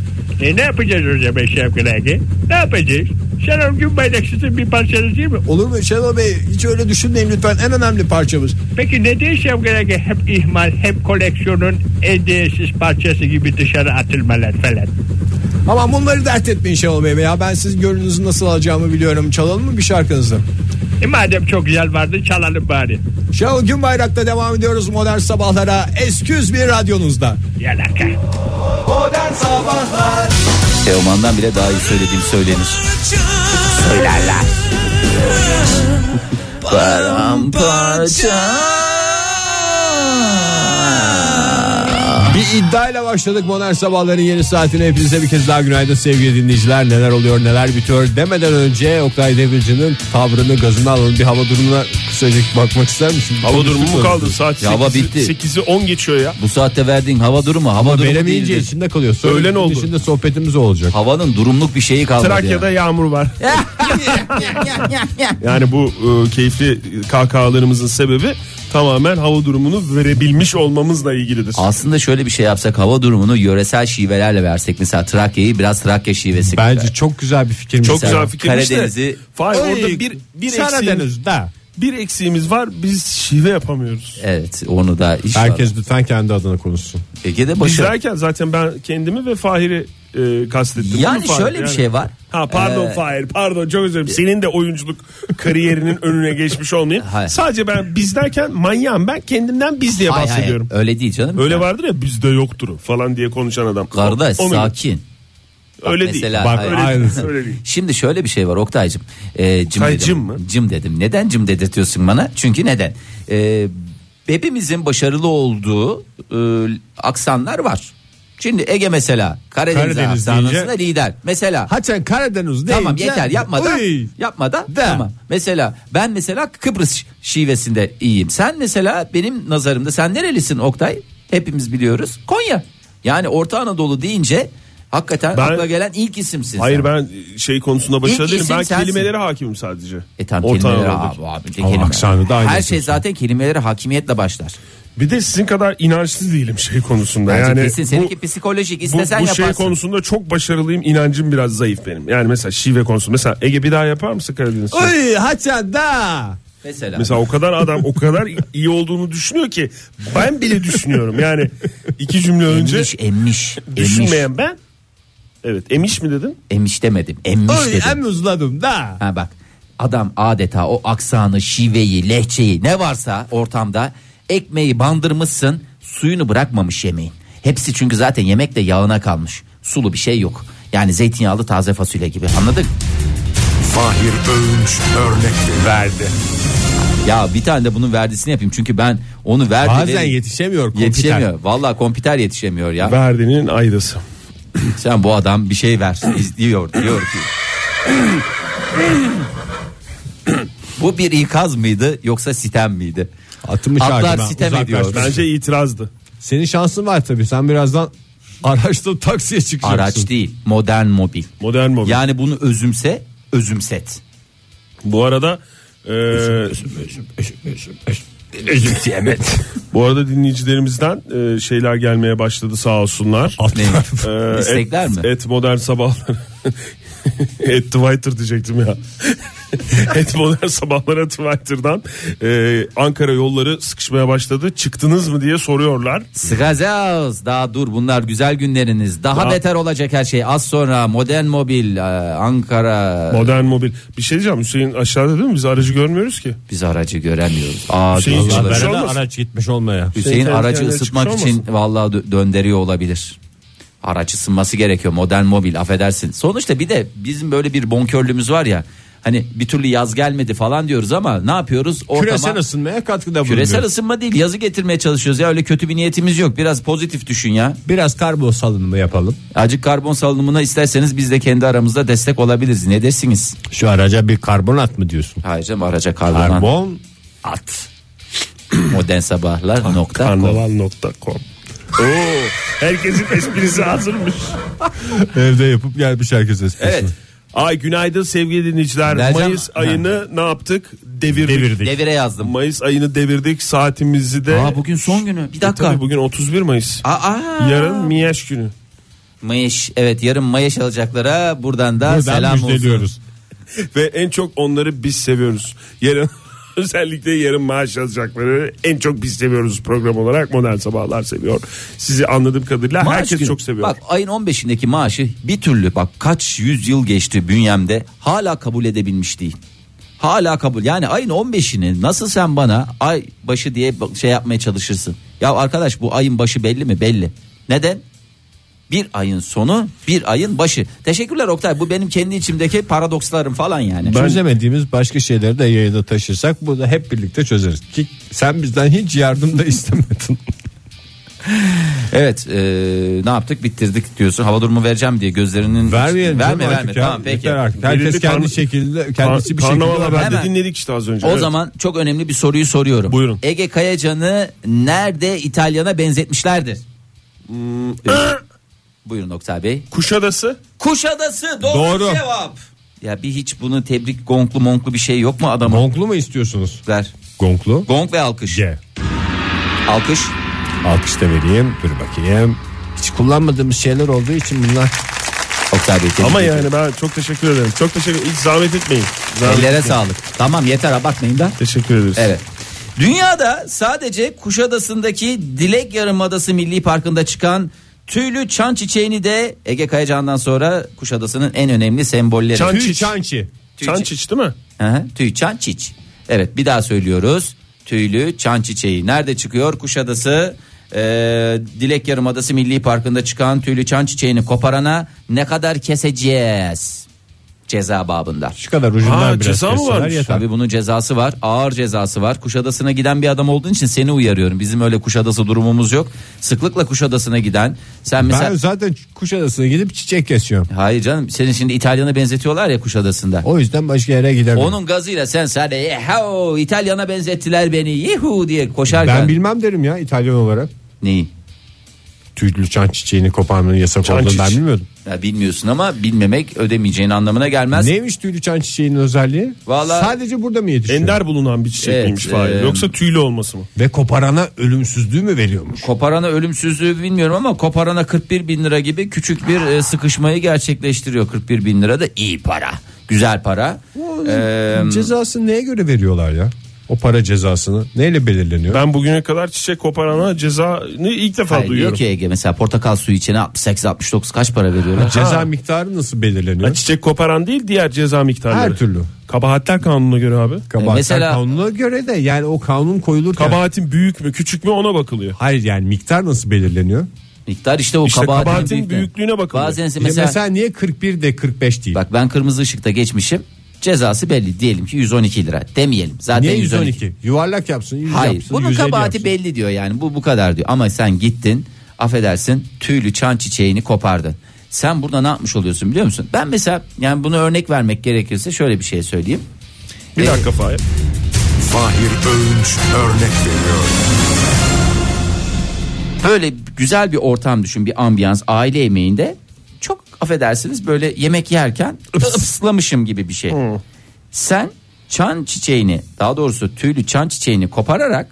S9: E ne yapacağız o zaman Şevkir'e gel? Ne yapacağız? Şenol Günbayrak sizin bir parçanız değil mi?
S3: Olur mu Şenol Bey hiç öyle düşünmeyin lütfen en önemli parçamız.
S9: Peki neden Şevgerek'e hep ihmal hem koleksiyonun en değersiz parçası gibi dışarı atılmalar falan?
S3: Ama bunları dert etmeyin Şenol Bey ya ben sizin gönlünüzü nasıl alacağımı biliyorum. Çalalım mı bir şarkınızı?
S9: E madem çok güzel vardı çalalım bari.
S3: Şenol Günbayrak'ta devam ediyoruz modern sabahlara. Esküz bir radyonuzda.
S9: Yalaka.
S2: Modern Sabahlar
S4: Teoman'dan bile daha iyi söylediğim söylenir. Söylerler. Paramparça.
S3: Bir iddiayla başladık Modern Sabahların yeni saatine. Hepinize bir kez daha günaydın sevgili dinleyiciler. Neler oluyor neler bitiyor demeden önce Oktay Demirci'nin tavrını gazını alalım. Bir hava durumuna kısacık bakmak ister misin?
S5: Hava durumu mu kaldı? Saat
S4: Ya hava
S5: 8'i
S4: bitti.
S5: 8'i 10 geçiyor ya.
S4: Bu saatte verdiğin hava durumu hava durumu
S7: Veremeyince
S4: değildir.
S7: içinde kalıyor. Sonra
S5: Öğlen
S7: Öğlen
S5: oldu.
S7: oldu. Şimdi sohbetimiz olacak.
S4: Havanın durumluk bir şeyi kalmadı
S5: Trakya'da
S4: ya.
S5: yağmur var. Yani bu e, keyifli kahkahalarımızın sebebi tamamen hava durumunu verebilmiş olmamızla ilgilidir.
S4: Aslında şöyle bir şey yapsak hava durumunu yöresel şivelerle versek. Mesela Trakya'yı biraz Trakya şivesi.
S7: Bence çok güzel bir fikirmiş.
S5: Çok
S7: Sen-
S5: güzel fikirmiş de.
S4: Karadeniz'i-
S5: Fahir
S7: Oy,
S5: orada bir, bir, eksiğimiz,
S7: Karadeniz'de.
S5: bir eksiğimiz var biz şive yapamıyoruz.
S4: Evet onu da inşallah.
S7: Herkes lütfen kendi adına konuşsun.
S4: Ege'de
S5: Biz
S4: başarı.
S5: derken zaten ben kendimi ve Fahir'i e, kastettim.
S4: Yani
S5: Değil mi Fahir?
S4: şöyle bir şey var.
S5: Ha pardon
S4: Ee,
S5: Fahir pardon çok özür dilerim. Senin de oyunculuk kariyerinin önüne geçmiş olmayayım.
S4: Hayır.
S5: Sadece ben biz derken manyağım ben kendimden biz diye
S4: Hayır, hayır,
S5: bahsediyorum.
S4: öyle değil canım.
S5: Öyle vardır ya bizde yoktur falan diye konuşan adam.
S4: Kardeş
S5: Onu-
S4: sakin.
S5: Öyle
S4: mesela,
S5: değil.
S4: Bak,
S5: öyle,
S7: aynısı.
S5: değil. öyle değil.
S4: Şimdi şöyle bir şey var Oktay'cım. Ee, cim
S5: Oktay,
S4: dedim.
S5: cim mi?
S4: Cim dedim. Neden cim dedirtiyorsun bana? Çünkü neden? Ee, hepimizin başarılı olduğu e, aksanlar var. Şimdi Ege mesela Karadeniz,
S7: Karadeniz
S4: aksanında
S7: deyince-
S4: lider. Mesela
S7: Haçan Karadeniz değil.
S4: Tamam yeter yapmadan yapmadan
S7: De.
S4: tamam. Mesela ben mesela Kıbrıs şivesinde iyiyim. Sen mesela benim nazarımda sen nerelisin Oktay? Hepimiz biliyoruz. Konya. Yani Orta Anadolu deyince hakikaten
S5: Ben-
S4: akla gelen ilk isimsin.
S5: Hayır
S4: sen.
S5: ben şey konusunda başarılı
S4: İlk
S5: değilim.
S4: isim
S5: Ben
S4: sensin.
S5: kelimelere hakimim sadece.
S4: E tamam
S5: Orta
S4: kelimelere
S5: Anadolu'daki.
S4: abi, abi de
S7: Ama
S4: kelime.
S7: aksanı da aynı
S4: Her şey
S7: diyorsun.
S4: zaten kelimelere hakimiyetle başlar.
S5: Bir de sizin kadar inançsız değilim şey konusunda.
S4: Bence
S5: yani
S4: kesin.
S5: bu-
S4: Seninki psikolojik.
S5: bu,
S4: istesen
S5: bu şey
S4: yaparsın.
S5: konusunda çok başarılıyım. inancım biraz zayıf benim. Yani mesela şive konusu. Mesela Ege bir daha yapar mısın Karadeniz? şivesi?
S7: Oy Haçan da.
S4: Mesela.
S5: Mesela o kadar adam o kadar iyi olduğunu düşünüyor ki ben bile düşünüyorum. Yani iki cümle önce
S4: Emmiş, emmiş, emmiş,
S5: düşünmeyen ben. Evet emiş mi dedin?
S4: emmiş demedim, emmiş
S7: Oy
S4: dedim.
S7: emuzladım da.
S4: Ha bak adam adeta o aksanı, şiveyi, lehçeyi ne varsa ortamda ekmeği bandırmışsın suyunu bırakmamış yemeğin. Hepsi çünkü zaten yemekte yağına kalmış. Sulu bir şey yok. Yani zeytinyağlı taze fasulye gibi anladın? Fahir Öğünç örnek verdi. Ya bir tane de bunun verdisini yapayım çünkü ben onu verdi.
S7: Bazen
S4: verdi-
S7: yetişemiyor kompiter.
S4: Yetişemiyor. Vallahi kompiter yetişemiyor ya.
S5: Verdi'nin aydası.
S4: Sen bu adam bir şey ver Biz- diyor diyor ki. bu bir ikaz mıydı yoksa sitem miydi?
S7: Atımı
S4: Atlar
S7: şarkıdan
S4: sitem ediyor.
S7: uzaklaştım.
S5: Bence itirazdı.
S7: Senin şansın var tabii. Sen birazdan araçta taksiye çıkacaksın.
S4: Araç değil modern mobil.
S5: Modern mobil.
S4: Yani bunu özümse özümset.
S5: Bu arada e,
S4: Özümseyemet.
S5: Bu arada dinleyicilerimizden e, şeyler gelmeye başladı sağ olsunlar. E,
S4: İstekler
S5: et,
S4: mi?
S5: Et modern sabahlar. et Twitter diyecektim ya. et modern sabahlara Twitter'dan e, Ankara yolları sıkışmaya başladı. Çıktınız mı diye soruyorlar.
S4: Sgazaz daha dur bunlar güzel günleriniz. Daha
S5: Daha-
S4: beter olacak her şey. Az sonra modern mobil e, Ankara
S5: Modern mobil. Bir şey diyeceğim Hüseyin aşağıda değil mi? Biz aracı görmüyoruz ki.
S4: biz aracı göremiyoruz. Aa,
S5: Hüseyin
S4: diyorlar.
S5: çıkmış
S7: Arada
S5: olmasın.
S7: araç gitmiş olmaya.
S4: Hüseyin
S5: Hüseyin
S4: aracı
S5: tehlikeli
S4: ısıtmak
S5: çıkmış
S4: için vallahi dö- dönderiyor olabilir. Araç ısınması gerekiyor modern mobil affedersin. Sonuçta bir de bizim böyle bir bonkörlüğümüz var ya. Hani bir türlü yaz gelmedi falan diyoruz ama ne yapıyoruz? Ortama
S7: Küresel ısınmaya katkıda bulunuyor.
S4: küresel ısınma değil yazı getirmeye çalışıyoruz ya öyle kötü bir niyetimiz yok. Biraz pozitif düşün ya.
S7: Biraz karbo salınımı yapalım.
S4: Acık karbon salınımına isterseniz biz de kendi aramızda destek olabiliriz. Ne dersiniz?
S7: Şu araca bir karbonat mı diyorsun?
S4: Hayır canım araca karbon
S7: Karbon
S4: at. modern sabahlar nokta com.
S5: Karnaval.com Oo, herkesin esprisi hazırmış.
S7: evde yapıp gelmiş herkes eskisi.
S4: Evet
S5: Ay günaydın sevgili dinleyiciler.
S4: Nercan-
S5: Mayıs ayını ne yaptık? Devirdik.
S4: devire yazdım.
S5: Mayıs ayını devirdik saatimizi de.
S4: Aa, bugün son günü bir dakika.
S5: E, Tabii bugün 31 Mayıs.
S4: Aa,
S5: Yarın Miyaş günü.
S4: Mayış evet yarın Mayış alacaklara buradan da
S7: Buradan
S4: selam olsun.
S7: müjdeliyoruz.
S5: Ve en çok onları biz seviyoruz. Yarın özellikle yarın maaş alacakları en çok biz seviyoruz program olarak modern sabahlar seviyor. Sizi anladığım kadarıyla
S4: Maaş
S5: herkes
S4: günü.
S5: çok seviyor.
S4: Bak ayın 15'indeki maaşı bir türlü bak kaç yüz yıl geçti bünyemde hala kabul edebilmiş değil. Hala kabul yani ayın 15'ini nasıl sen bana ay başı diye bak- şey yapmaya çalışırsın. Ya arkadaş bu ayın başı belli mi belli. Neden? Bir ayın sonu bir ayın başı. Teşekkürler Oktay bu benim kendi içimdeki paradokslarım falan yani.
S3: Çözemediğimiz başka şeyleri de yayına taşırsak bu da hep birlikte çözeriz. Ki sen bizden hiç yardım da istemedin.
S4: Evet e, ne yaptık bitirdik diyorsun hava durumu vereceğim diye gözlerinin
S3: Ver yerim canım
S4: verme verme
S3: artık ya.
S4: tamam peki.
S3: Yeter artık.
S5: Verildi
S3: Herkes kendi
S5: karn-
S3: şekilde kendisi
S5: Kendisi
S3: bir şekilde.
S5: haberde
S4: Hemen.
S5: dinledik işte az önce.
S4: O
S5: Evet.
S4: zaman çok önemli bir soruyu soruyorum.
S5: Buyurun.
S4: Ege Kayacan'ı nerede İtalyan'a benzetmişlerdir?
S3: Hmm,
S4: Ee, Buyurun Oktay Bey.
S5: Kuşadası
S4: Kuşadası doğru,
S3: Doğru.
S4: cevap. Ya bir hiç bunu tebrik gonklu monklu bir şey yok mu adamın?
S3: Gonklu mu istiyorsunuz?
S4: Ver.
S3: Gonklu.
S4: Gong ve alkış.
S3: G.
S4: Alkış.
S3: Alkış da vereyim. Dur bakayım. Hiç kullanmadığımız şeyler olduğu için bunlar.
S4: Oktay Bey tebrik
S5: ama
S4: ediyorum.
S5: yani ben çok teşekkür ederim. Çok teşekkür Hiç zahmet etmeyin. Zahmet
S4: Ellere
S5: etmeyin.
S4: sağlık. Tamam yeter abartmayın da.
S5: Teşekkür ederiz.
S4: Evet. Dünyada sadece Kuşadası'ndaki Dilek Yarımadası Milli Parkı'nda çıkan tüylü çan çiçeğini de Ege Kayacan'dan sonra Kuşadası'nın en önemli sembolleri.
S5: Çan-
S3: Tüy çançı.
S5: Çançiç değil mi?
S4: Hı hı, tüy çan çiç. Evet bir daha söylüyoruz. Tüylü çan çiçeği. Nerede çıkıyor? Kuşadası e, Dilek Yarımadası Milli Parkı'nda çıkan tüylü çan çiçeğini koparana ne kadar keseceğiz? Ceza babında.
S3: Şu kadar ucundan
S5: Aa,
S3: biraz
S5: ceza mı
S3: kessinler
S5: varmış?
S3: yeter.
S4: Tabii bunun cezası var. Ağır cezası var. Kuşadası'na giden bir adam olduğun için seni uyarıyorum. Bizim öyle Kuşadası durumumuz yok. Sıklıkla Kuşadası'na giden. Sen mesela
S3: Ben zaten Kuşadası'na gidip çiçek kesiyorum.
S4: Hayır canım senin şimdi İtalyan'a benzetiyorlar ya Kuşadası'nda.
S3: O yüzden başka yere gidemiyorum.
S4: Onun gazıyla sen sadece "Yeho, İtalyan'a benzettiler beni. Yuhu diye koşarken.
S3: Ben bilmem derim ya İtalyan olarak.
S4: Neyi?
S3: Tüylü çan çiçeğini koparmanın yasak
S5: Çan
S3: olduğunu ben
S5: çiçeği.
S3: bilmiyordum.
S4: Ya bilmiyorsun ama bilmemek ödemeyeceğin anlamına gelmez.
S3: Neymiş tüylü çan çiçeğinin özelliği?
S4: Vallahi-
S3: Sadece burada mı yetişiyor?
S5: Ender bulunan bir çiçek
S4: Evet,
S5: miymiş Fahir?
S4: e-
S5: Yoksa tüylü olması mı?
S3: Ve koparana ölümsüzlüğü mü veriyormuş?
S4: Koparana ölümsüzlüğü bilmiyorum ama koparana 41 bin lira gibi küçük bir e, sıkışmayı gerçekleştiriyor. 41 bin lira da iyi para. Güzel para. Ee,
S3: Cezası neye göre veriyorlar ya? O para cezasını neyle belirleniyor?
S5: Ben bugüne kadar çiçek koparana cezanı ilk defa
S4: Hayır, diyor
S5: duyuyorum.
S4: ki Ege mesela portakal suyu içine 68-69 kaç para veriyorlar?
S3: Ceza miktarı nasıl belirleniyor?
S5: Ha, çiçek koparan değil diğer ceza miktarları.
S3: Her türlü.
S5: Kabahatler kanununa göre abi.
S3: Kabahatler
S4: E, Mesela-
S3: kanununa göre de yani o kanun koyulurken
S5: Kabahatin büyük mü küçük mü ona bakılıyor.
S3: Hayır yani miktar nasıl belirleniyor?
S4: Miktar işte o
S5: İşte
S4: kabahatin,
S5: kabahatin
S4: büyüklüğü.
S5: büyüklüğüne bakılıyor.
S4: Bazen
S3: Ya Mesela,
S4: mesela,
S3: niye 41 de 45 değil?
S4: bak ben kırmızı ışıkta geçmişim. Cezası belli diyelim ki 112 lira demeyelim. Zaten
S3: niye
S4: 112.
S3: 112? Yuvarlak yapsın, 100
S4: Hayır.
S3: yapsın,
S4: bunun
S3: 150
S4: kabahati
S3: yapsın.
S4: belli diyor yani. Bu bu kadar diyor. Ama sen gittin affedersin tüylü çan çiçeğini kopardın. Sen burada ne yapmış oluyorsun biliyor musun? Ben mesela yani bunu örnek vermek gerekirse şöyle bir şey söyleyeyim.
S5: Bir
S4: Ee,
S5: dakika Fahir.
S10: Fahir Öğünç örnek veriyor.
S4: böyle güzel bir ortam düşün bir ambiyans aile yemeğinde çok affedersiniz böyle yemek yerken ıslamışım gibi bir şey.
S3: Hmm.
S4: Sen çan çiçeğini daha doğrusu tüylü çan çiçeğini kopararak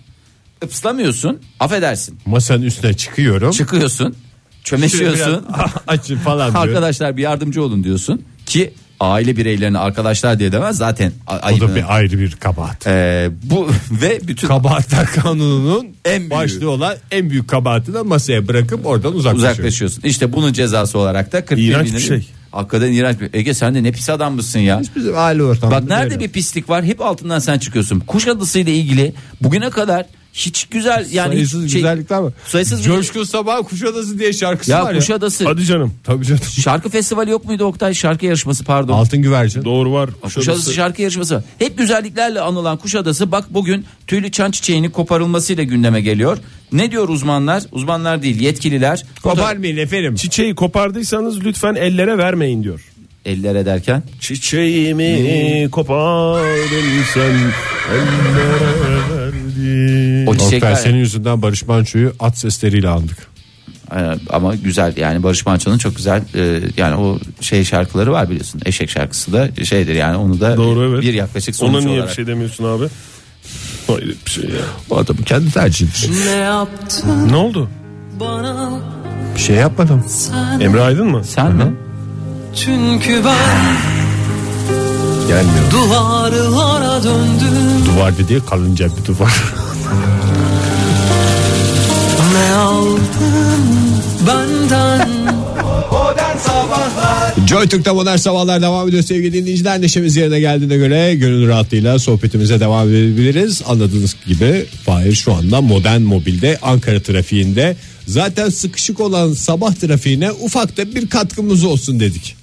S4: ıpslamıyorsun affedersin
S3: Masanın üstüne çıkıyorum.
S4: çıkıyorsun
S3: Şöyle
S4: çömeşiyorsun
S3: biraz Açın falan diyor.
S4: arkadaşlar bir yardımcı olun diyorsun ki aile bireylerine arkadaşlar diye demez zaten a-
S3: O
S4: ayıbını-
S3: da bir ayrı bir kabahat.
S4: Ee, bu ve bütün
S3: Kabahatler kanununun
S4: En büyüğü.
S3: başlığı olan en büyük kabahati de masaya bırakıp oradan uzaklaşıyor.
S4: uzaklaşıyorsun. İşte bunun cezası olarak da 40
S5: İğrenç bir şey.
S4: Hakikaten iğrenç bir. Ege sen de ne pis adam mısın ya?
S3: Bizim aile ortamında
S4: Bak nerede bir pislik var hep altından sen çıkıyorsun. Kuşadası ile ilgili bugüne kadar hiç güzel yani hiç
S3: sayısız
S4: şey-
S3: güzellikler var.
S4: Sayısız
S3: Coşkun Sabah Kuşadası diye şarkısı
S4: ya
S3: var ya.
S4: Kuşadası.
S5: Hadi canım.
S3: Tabii canım.
S4: Şarkı festivali yok muydu Oktay? Şarkı yarışması pardon.
S3: Altın güvercin.
S5: Doğru var.
S4: Kuşadası. şarkı yarışması. var. Hep güzelliklerle anılan Kuşadası bak bugün tüylü çan çiçeğini koparılmasıyla gündeme geliyor. Ne diyor uzmanlar? Uzmanlar değil yetkililer. O da-
S3: Koparmayın efendim.
S5: Çiçeği kopardıysanız lütfen ellere vermeyin diyor.
S4: Eller ederken.
S5: Çiçeğimi kopardın sen ellere verdin.
S4: O
S3: Oktay
S4: çiçekler
S3: senin yüzünden Barış Manço'yu at sesleriyle andık.
S4: Ee, ama güzel yani Barış Manço'nun çok güzel e, yani o şey şarkıları var biliyorsun. Eşek şarkısı da şeydir yani onu da
S5: Doğru evet.
S4: bir yaklaşık sonuç
S5: Ona niye
S4: olarak.
S5: bir şey demiyorsun abi? Hayret bir şey ya.
S3: O adamın kendi şey. tercihidir.
S5: Ne oldu?
S3: Bir şey yapmadım.
S5: Emre Aydın mı?
S4: Sen mi?
S11: Çünkü ben
S7: gelmiyor.
S12: Duvarlara döndüm
S7: Duvar dediği kalınca bir duvar.
S12: ne aldın benden
S2: Modern Sabahlar
S3: Joy Türk'te modern sabahlar devam ediyor sevgili dinleyiciler. Neşemiz yerine geldiğine göre gönül rahatlığıyla sohbetimize devam edebiliriz. Anladığınız gibi Fahir şu anda modern mobilde Ankara trafiğinde. Zaten sıkışık olan sabah trafiğine ufak da bir katkımız olsun dedik.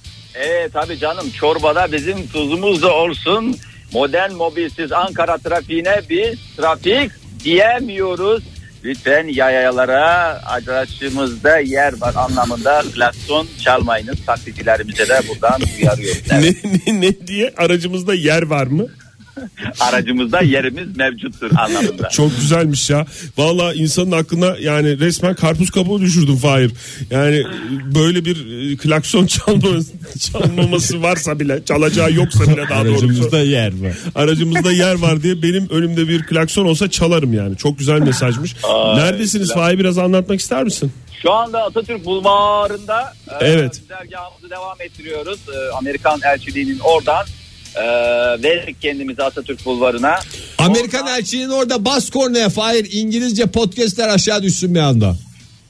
S13: Ee tabii canım çorbada bizim tuzumuz da olsun. Modern mobilsiz Ankara trafiğine biz trafik diyemiyoruz. Lütfen yayalara aracımızda yer var anlamında klakson çalmayınız. Taksicilerimize de buradan uyarıyoruz. Evet,
S5: Ne, ne, ne diye aracımızda yer var mı?
S13: aracımızda yerimiz mevcuttur anlamında.
S5: Çok güzelmiş ya. Valla insanın aklına yani resmen karpuz kabuğu düşürdün Fahir. Yani böyle bir e, klakson çalma, çalmaması varsa bile çalacağı yoksa bile daha doğrusu.
S3: Aracımızda yer var.
S5: Aracımızda yer var diye benim önümde bir klakson olsa çalarım yani. Çok güzel mesajmış.
S13: Ay,
S5: Neredesiniz Fahir biraz anlatmak ister misin?
S13: Şu anda Atatürk Bulvarı'nda e,
S5: Evet.
S13: güzergahımızı devam ettiriyoruz. E, Amerikan elçiliğinin oradan e, verdik kendimizi Atatürk Bulvarı'na.
S3: Amerikan elçinin orada bas kornaya Fahir İngilizce podcastler aşağı düşsün bir anda.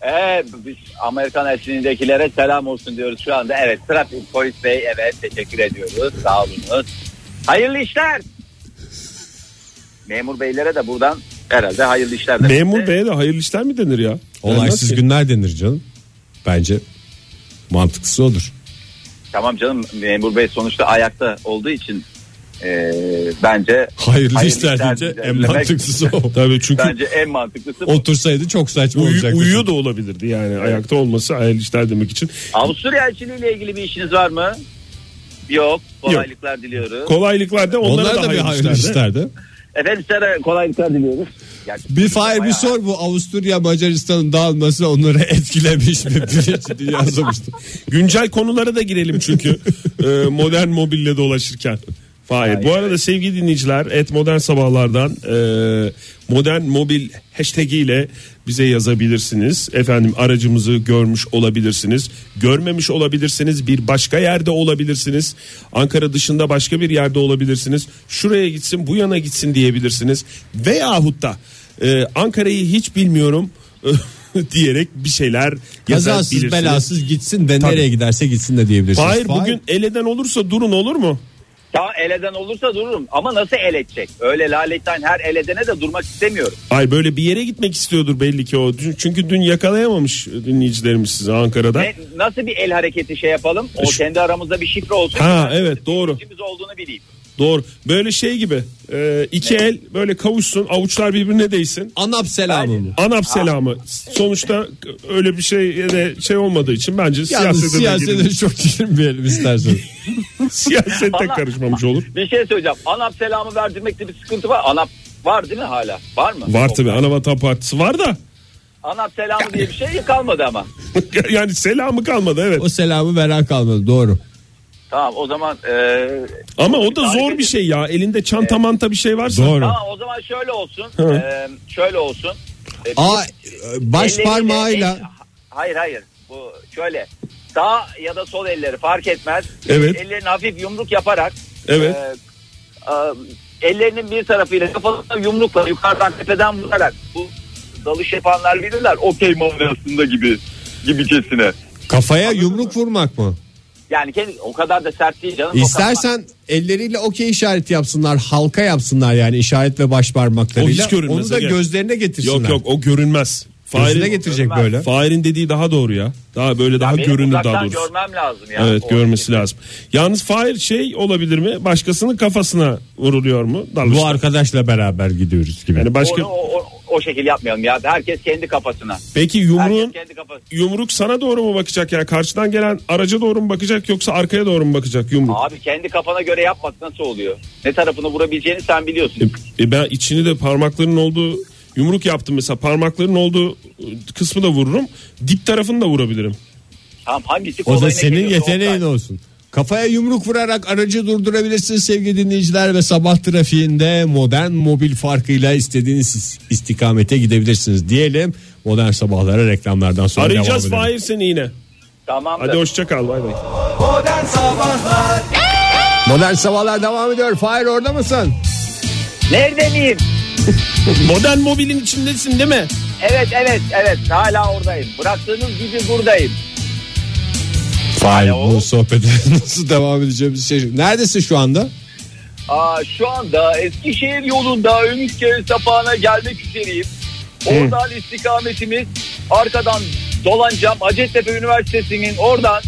S13: Ee, biz Amerikan elçiliğindekilere selam olsun diyoruz şu anda. Evet trafik polis bey evet teşekkür ediyoruz. Sağ olunuz. Hayırlı işler. Memur beylere de buradan herhalde hayırlı işler. demek
S5: Memur
S13: ki.
S5: beye de hayırlı işler mi denir ya? Denmez
S3: Olaysız
S5: ki.
S3: günler denir canım. Bence mantıklısı odur.
S13: Tamam canım memur bey sonuçta ayakta olduğu için e, bence
S3: Hayırlı,
S13: Hayırlı
S3: işler
S13: işler
S3: deyince en
S13: dilemek-
S3: mantıklısı o.
S5: Tabii çünkü
S13: bence en mantıklısı bu.
S3: Otursaydı çok saçma
S5: uyu-
S3: olacaktı.
S5: uyuyor da olabilirdi yani. Ayakta olması hayırlı işler demek için.
S13: Avusturya elçiliğiyle ilgili bir işiniz var mı? Yok. Kolaylıklar diliyoruz.
S5: Kolaylıklar da onlara,
S3: Onlar
S5: da, hayırlı, işler de.
S3: işlerdi.
S13: Efendim size kolaylıklar diliyoruz. Gerçi-
S3: Bir Fahir bir
S13: Bayağı-
S3: sor bu Avusturya Macaristan'ın dağılması onları etkilemiş mi? Birinci Dünya Savaşı.
S5: Güncel konulara da girelim çünkü e, modern mobille dolaşırken. Hayır. Bu arada sevgili dinleyiciler et modern sabahlardan e, modern mobil hashtag ile bize yazabilirsiniz. Efendim aracımızı görmüş olabilirsiniz. Görmemiş olabilirsiniz. Bir başka yerde olabilirsiniz. Ankara dışında başka bir yerde olabilirsiniz. Şuraya gitsin bu yana gitsin diyebilirsiniz. Veyahut da e, Ankara'yı hiç bilmiyorum diyerek bir şeyler
S3: Kazasız
S5: yazabilirsiniz.
S3: belasız gitsin de
S5: Tabii.
S3: nereye giderse gitsin de diyebilirsiniz.
S5: Hayır bugün eleden olursa durun olur mu?
S13: Ya el eden olursa dururum ama nasıl el edecek? Öyle laletten her el edene de durmak istemiyorum.
S5: Ay böyle bir yere gitmek istiyordur belli ki o. Dün- Çünkü dün yakalayamamış dinleyicilerimiz sizi Ankara'da.
S13: Ne, E, nasıl bir el hareketi şey yapalım? O
S5: Şu-
S13: kendi aramızda bir şifre olsun.
S5: Ha,
S13: Ben-
S5: evet, doğru.
S13: Kimimiz olduğunu bileyim.
S5: Doğru. Böyle şey gibi. e, iki el böyle kavuşsun, avuçlar birbirine değsin.
S3: Anap selamı mı?
S5: Anap selamı. Sonuçta öyle bir şey de şey olmadığı için bence
S3: Yalnız
S5: siyasete, de
S3: siyasete
S5: girilmiş.
S3: çok girmeyelim istersen.
S5: siyasete
S13: Ana-
S5: karışmamış olur.
S13: Bir şey söyleyeceğim. Anap selamı verdirmekte bir sıkıntı var. Anap var değil mi hala? Var mı?
S5: Var
S13: Yok.
S5: tabii Anavatan Partisi var da.
S13: Anap selamı diye bir şey kalmadı ama.
S5: yani selamı kalmadı evet.
S3: O selamı veren kalmadı doğru.
S13: Tamam o zaman e,
S5: Ama o da zor
S13: Hareket-
S5: bir şey ya. Elinde çanta manta bir şey varsa.
S3: Doğru.
S13: tamam o zaman şöyle olsun. E, şöyle olsun. E,
S3: Aa, baş
S13: Elleriyle- el-
S3: parmağıyla
S13: hayır hayır. Bu şöyle sağ ya da sol elleri fark etmez.
S5: Evet.
S13: Ellerini hafif yumruk yaparak.
S5: Evet.
S13: e, a- ellerinin bir tarafıyla kafasına yumrukla yukarıdan tepeden vurarak bu dalış yapanlar bilirler. Okey manasında gibi gibicesine.
S3: kafaya yumruk vurmak mı?
S13: Yani kendi, o kadar da sert değil canım. O kadar-
S3: İstersen elleriyle okey işareti yapsınlar, halka yapsınlar yani işaret ve baş parmaklarıyla.
S5: O hiç görünmez,
S3: Onu da
S5: gel.
S3: gözlerine getirsinler.
S5: Yok yok o görünmez.
S3: Gözüne
S5: Fahir'in-
S3: getirecek böyle.
S5: Fahir'in dediği daha doğru ya. Daha böyle daha
S13: Benim
S5: görünür
S13: uzaktan
S5: daha doğrusu.
S13: görmem lazım ya.
S5: evet
S13: O-
S5: görmesi lazım. Yalnız Fahir şey olabilir mi? Başkasının kafasına vuruluyor mu? Dalmışlar.
S3: Bu arkadaşla beraber gidiyoruz gibi.
S5: Yani başka
S13: Onu o, o, o şekil yapmayalım ya. Herkes kendi kafasına.
S5: Peki
S13: Herkes
S5: yumruğun
S13: kendi kafasına.
S5: yumruk sana doğru mu bakacak yani karşıdan gelen araca doğru mu bakacak yoksa arkaya doğru mu bakacak yumruk?
S13: Abi kendi kafana göre yapmak nasıl oluyor? Ne tarafını vurabileceğini sen biliyorsun.
S5: E ben içini de parmaklarının olduğu yumruk yaptım mesela parmaklarının olduğu kısmı da vururum. Dip tarafını da vurabilirim.
S13: Tamam hangisi
S3: O da
S13: kolayına
S3: senin
S13: geliyorsa
S3: yeteneğin
S13: ondan.
S3: olsun. Kafaya yumruk vurarak aracı durdurabilirsin sevgili dinleyiciler ve sabah trafiğinde modern mobil farkıyla istediğiniz istikamete gidebilirsiniz diyelim. Modern sabahlara reklamlardan sonra
S5: Arayacağız
S3: devam edelim.
S5: Fahir seni yine.
S13: Tamamdır.
S5: Hadi hoşça kal bay bay.
S2: Modern Sabahlar
S3: Modern sabahlar devam ediyor. Fahir orada mısın?
S13: Nerede miyim?
S5: Modern mobilin içindesin değil mi?
S13: Evet evet evet hala oradayım. Bıraktığınız gibi buradayım.
S3: Fahir bu sohbete nasıl devam edeceğimizi şaşırdım. Neredesin şu anda?
S13: Aa, şu anda Eskişehir yolunda Ümitköy sapağına gelmek üzereyim. Oradan istikametimiz arkadan dolanacağım. Hacettepe Üniversitesi'nin oradan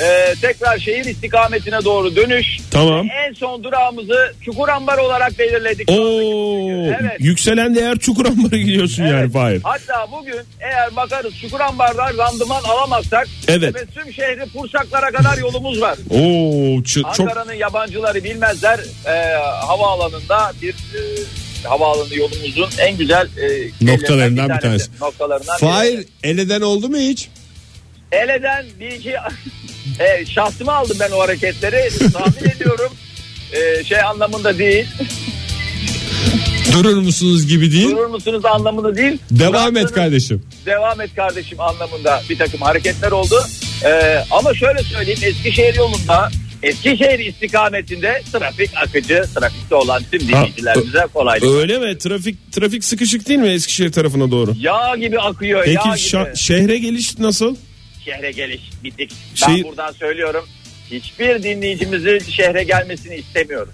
S13: e, tekrar şehir istikametine doğru dönüş.
S5: Tamam.
S13: Ve En son durağımızı Çukurambar olarak belirledik.
S5: Oo,
S13: Evet.
S5: Yükselen değer çukur ambara gidiyorsun yani Fahir.
S13: Hatta bugün eğer bakarız Çukurambar'dan randıman alamazsak
S5: Evet.
S13: tüm şehri Pursaklara kadar yolumuz var.
S5: Oo, çı- çok
S13: Ankara'nın yabancıları bilmezler e, havaalanında bir e, havaalanı yolumuzun en güzel e,
S3: Noktalarından bir
S13: tanesi.
S3: tanesi.
S13: Noktalarından biri.
S3: Fahir eleden oldu mu hiç?
S13: El eden bir iki e, şahsıma aldım ben o hareketleri tahmin ediyorum e, şey anlamında değil.
S3: Durur musunuz gibi değil.
S13: Durur musunuz anlamında değil.
S3: Devam et kardeşim.
S13: devam et kardeşim anlamında bir takım hareketler oldu. Ee, ama şöyle söyleyeyim Eskişehir yolunda Eskişehir istikametinde trafik akıcı trafikte olan tüm dinleyicilerimize kolaylık.
S5: öyle mi? Trafik trafik sıkışık değil mi Eskişehir tarafına doğru?
S13: Yağ gibi akıyor
S5: Peki
S13: yağ gibi.
S5: şa- şehre geliş nasıl?
S13: şehre geliş bittik. Ben
S5: Şey-
S13: buradan söylüyorum hiçbir dinleyicimizin şehre gelmesini istemiyorum.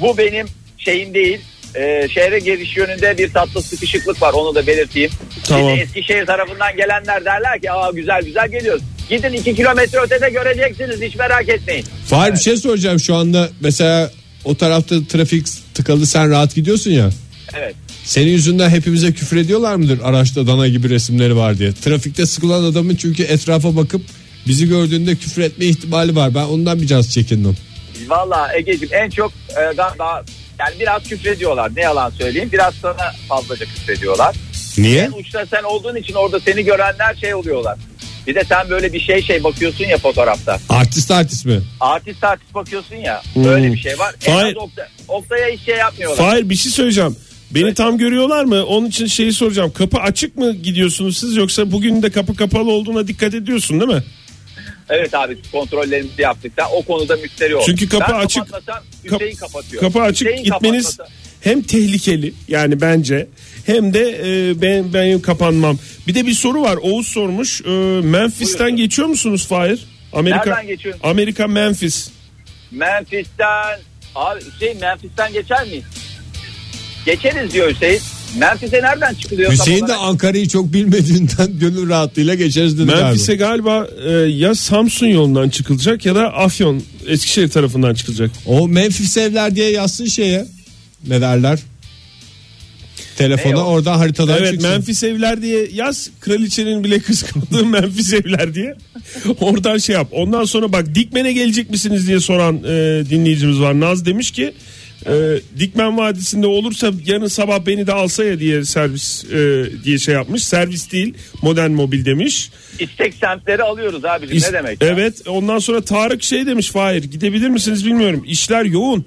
S13: Bu benim şeyim değil. Ee, şehre geliş yönünde bir tatlı sıkışıklık var onu da belirteyim.
S5: Tamam.
S13: Bir de Eskişehir tarafından gelenler derler ki aa güzel güzel geliyoruz. Gidin iki kilometre ötede göreceksiniz hiç merak etmeyin.
S3: Fahir bir şey soracağım şu anda mesela o tarafta trafik tıkalı sen rahat gidiyorsun ya.
S13: Evet.
S3: Senin yüzünden hepimize küfür ediyorlar mıdır araçta dana gibi resimleri var diye. Trafikte sıkılan adamın çünkü etrafa bakıp bizi gördüğünde küfür etme ihtimali var. Ben ondan bir caz çekindim.
S13: Valla Ege'ciğim en çok e, daha, daha- yani biraz küfrediyorlar ne yalan söyleyeyim biraz sana fazlaca küfrediyorlar.
S3: Niye?
S13: En uçta sen olduğun için orada seni görenler şey oluyorlar. Bir de sen böyle bir şey şey bakıyorsun ya fotoğrafta.
S3: Artist artist mi?
S13: Artist artist bakıyorsun ya.
S5: Hmm.
S13: Böyle bir şey var. En az
S5: Fahir-
S13: Okta- Oktay'a hiç şey yapmıyorlar.
S5: Fahir bir şey söyleyeceğim. Beni tam görüyorlar mı? Onun için şeyi soracağım. Kapı açık mı gidiyorsunuz siz yoksa bugün de kapı kapalı olduğuna dikkat ediyorsun değil mi?
S13: Evet abi kontrollerimizi yaptık. da o konuda müşteri yok.
S5: Çünkü kapı
S13: ben
S5: açık.
S13: kapatmasam Hüseyin kapatıyor.
S5: Kapı açık
S13: Hüseyin
S5: gitmeniz
S13: kapatmasa-
S5: hem tehlikeli yani bence hem de e, ben benim kapanmam. Bir de bir soru var. Oğuz sormuş. E, Memphis'ten geçiyor musunuz Fahir? Amerika
S13: Nereden geçiyorum?
S5: Amerika Memphis.
S13: Memphis'ten abi Hüseyin Memphis'ten geçer miyiz? Geçeriz diyor Hüseyin. Memphis'e nereden çıkılıyor? tam
S3: Hüseyin de
S13: olarak?
S3: Ankara'yı çok bilmediğinden gönül rahatlığıyla geçeriz dedi
S5: Memphis'e galiba e, ya Samsun yolundan çıkılacak ya da Afyon Eskişehir tarafından çıkılacak.
S3: O Memphis evler diye yazsın şeye. Ne derler? Telefona oradan haritadan
S5: evet,
S3: çıksın.
S5: Memphis evler diye yaz. Kraliçenin bile kıskandığı Memphis evler diye. Oradan şey yap. Ondan sonra bak Dikmen'e gelecek misiniz diye soran e, dinleyicimiz var. Naz demiş ki e, Dikmen Vadisi'nde olursa yarın sabah beni de alsa ya diye servis e, diye şey yapmış. Servis değil modern mobil demiş.
S13: İstek semtleri alıyoruz abicim Ee, ne
S5: İs-
S13: demek? ya?
S5: Evet ondan sonra Tarık şey demiş Fahir gidebilir misiniz bilmiyorum. İşler yoğun.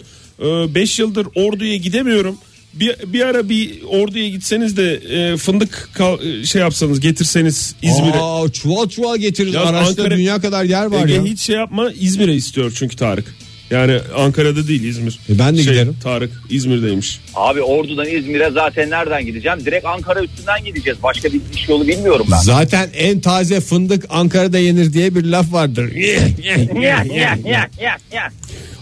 S5: 5 yıldır orduya gidemiyorum. Bir, bir ara bir orduya gitseniz de e, fındık kal- e, şey yapsanız getirseniz İzmir'e.
S3: Aa, çuval çuval getiririz.
S5: Ya
S3: Araçta
S5: Ankara-
S3: dünya kadar yer var
S5: Ege
S3: ya.
S5: hiç şey yapma İzmir'e istiyor çünkü Tarık. Yani Ankara'da değil İzmir.
S3: E, ben de
S5: Şey,
S3: giderim.
S5: Tarık İzmir'deymiş.
S13: Abi Ordu'dan İzmir'e zaten nereden gideceğim? Direkt Ankara üstünden gideceğiz. Başka bir iş yolu bilmiyorum ben.
S3: Zaten en taze fındık Ankara'da yenir diye bir laf vardır.
S13: Ya, ya, ya, ya, ya.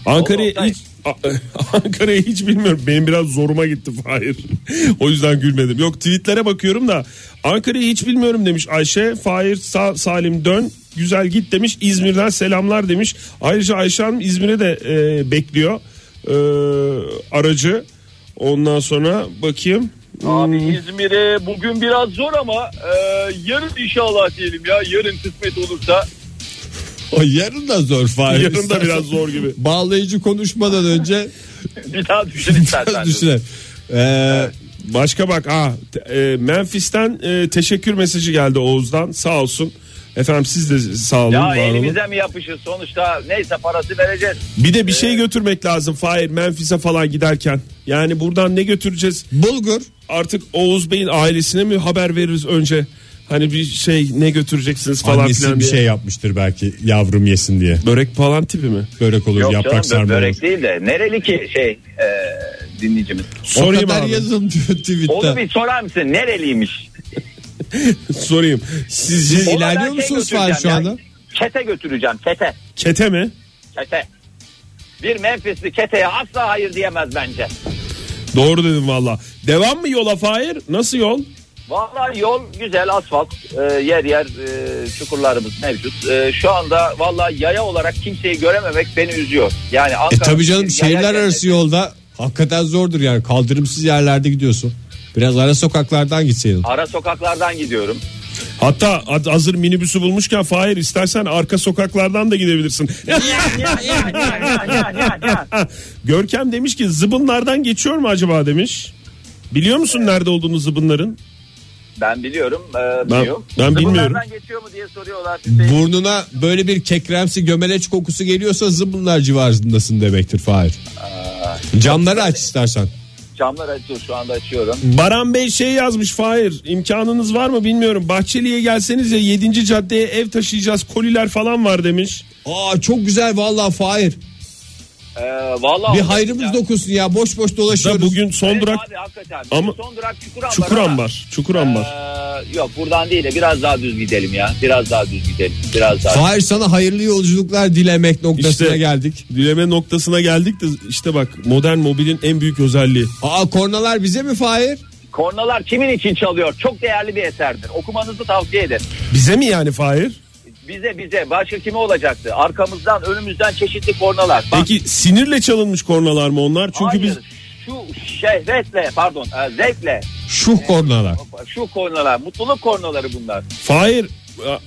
S5: Ankara'yı hiç A- Ankara'yı hiç bilmiyorum. Benim biraz zoruma gitti Fahir. o yüzden gülmedim. Yok tweetlere bakıyorum da Ankara'yı hiç bilmiyorum demiş Ayşe. Fahir Sa- Salim dön güzel git demiş. İzmir'den selamlar demiş. Ayrıca Ayşe Hanım İzmir'e de e, bekliyor e, aracı. Ondan sonra bakayım.
S13: Abi
S5: Hmm.
S13: İzmir'e bugün biraz zor ama e, yarın inşallah diyelim ya. Yarın kısmet olursa.
S3: O yarın da zor Fahir.
S5: Yarın da
S3: İstersen
S5: biraz zor gibi.
S3: Bağlayıcı konuşmadan önce
S13: Bir daha düşün istersen.
S3: düşünelim. Ee,
S5: Başka bak ha e, Memphis'ten e, teşekkür mesajı geldi Oğuz'dan sağ olsun. Efendim siz de sağ olun.
S13: Ya
S5: var olun.
S13: elimize mi yapışır sonuçta neyse parası vereceğiz.
S5: Bir de bir şey götürmek lazım Fahir Memphis'e falan giderken. Yani buradan ne götüreceğiz?
S3: Bulgur.
S5: Artık Oğuz Bey'in ailesine mi haber veririz önce? Hani bir şey ne götüreceksiniz falan
S14: Annesi
S5: filan
S14: bir
S5: diye.
S14: şey
S7: yapmıştır belki yavrum yesin diye.
S5: Börek falan tipi mi?
S7: Börek olur
S13: Yok canım
S7: yaprak
S13: bö-
S7: sarma
S13: börek
S7: olur.
S13: değil de nereli ki şey e, dinleyicimiz.
S5: Sorayım O kadar abi.
S7: yazın tweet'te.
S13: Onu bir sorar mısın nereliymiş?
S5: Sorayım. Siz,
S13: Ona ben şey götüreceğim ya, Kete götüreceğim kete.
S5: Kete mi?
S13: Kete. Bir Memphisli keteye asla hayır diyemez bence.
S5: Doğru dedim valla. Devam mı yola Fahir? Nasıl yol?
S13: Vallahi yol güzel asfalt e, yer yer e, çukurlarımız mevcut. E, şu anda vallahi yaya olarak kimseyi görememek beni üzüyor. Yani
S7: E
S13: Ankara
S7: tabii canım
S13: bir yaya
S7: şehirler
S13: cenneti.
S7: arası yolda hakikaten zordur yani kaldırımsız yerlerde gidiyorsun. Biraz ara sokaklardan gitseydin.
S13: Ara sokaklardan gidiyorum.
S5: Hatta ad- hazır minibüsü bulmuşken Fahir istersen arka sokaklardan da gidebilirsin. Görkem demiş ki zıbınlardan geçiyor mu acaba demiş. Biliyor musun nerede olduğunu zıbınların?
S13: Ben biliyorum. E,
S5: Ben-
S13: biliyorum.
S5: ben
S13: Zıbınlardan
S5: bilmiyorum.
S13: geçiyor mu diye soruyorlar.
S7: Burnuna böyle bir kekremsi gömeleç kokusu geliyorsa zıbınlar civarındasın demektir Fahir. Camları aç istersen.
S13: Camlar açıyor şu anda açıyorum.
S5: Baran Bey şey yazmış Fahir imkanınız var mı bilmiyorum. Bahçeli'ye gelseniz ya 7. caddeye ev taşıyacağız koliler falan var demiş.
S7: Aa çok güzel vallahi Fahir.
S13: E, vallahi
S7: bir
S13: olmaz
S7: hayrımız
S13: ya.
S7: dokunsun ya boş boş dolaşıyoruz.
S5: Da bugün son
S13: Evet
S5: durak
S13: abi, hakikaten.
S5: Ama-
S13: son durak Çukurambar.
S5: Çukur
S13: ama-
S5: Ambar. Çukur Ambar.
S13: Ee, yok buradan değil de biraz daha düz gidelim ya. Biraz daha düz gidelim. Biraz daha.
S7: Fahir sana hayırlı yolculuklar dilemek noktasına
S5: İşte-
S7: geldik.
S5: Dileme noktasına geldik de işte bak modern mobilin en büyük özelliği.
S7: Aa kornalar bize mi Fahir?
S13: Kornalar kimin için çalıyor? Çok değerli bir eserdir. Okumanızı tavsiye ederim.
S5: Bize mi yani Fahir?
S13: Bize bize başka kime olacaktı? Arkamızdan önümüzden çeşitli kornalar. Bak,
S5: Peki sinirle çalınmış kornalar mı onlar? Çünkü
S13: hayır,
S5: biz
S13: şu şehvetle pardon e, zevkle
S7: Şuh kornalar.
S13: şu kornalar mutluluk kornaları bunlar.
S5: Fahir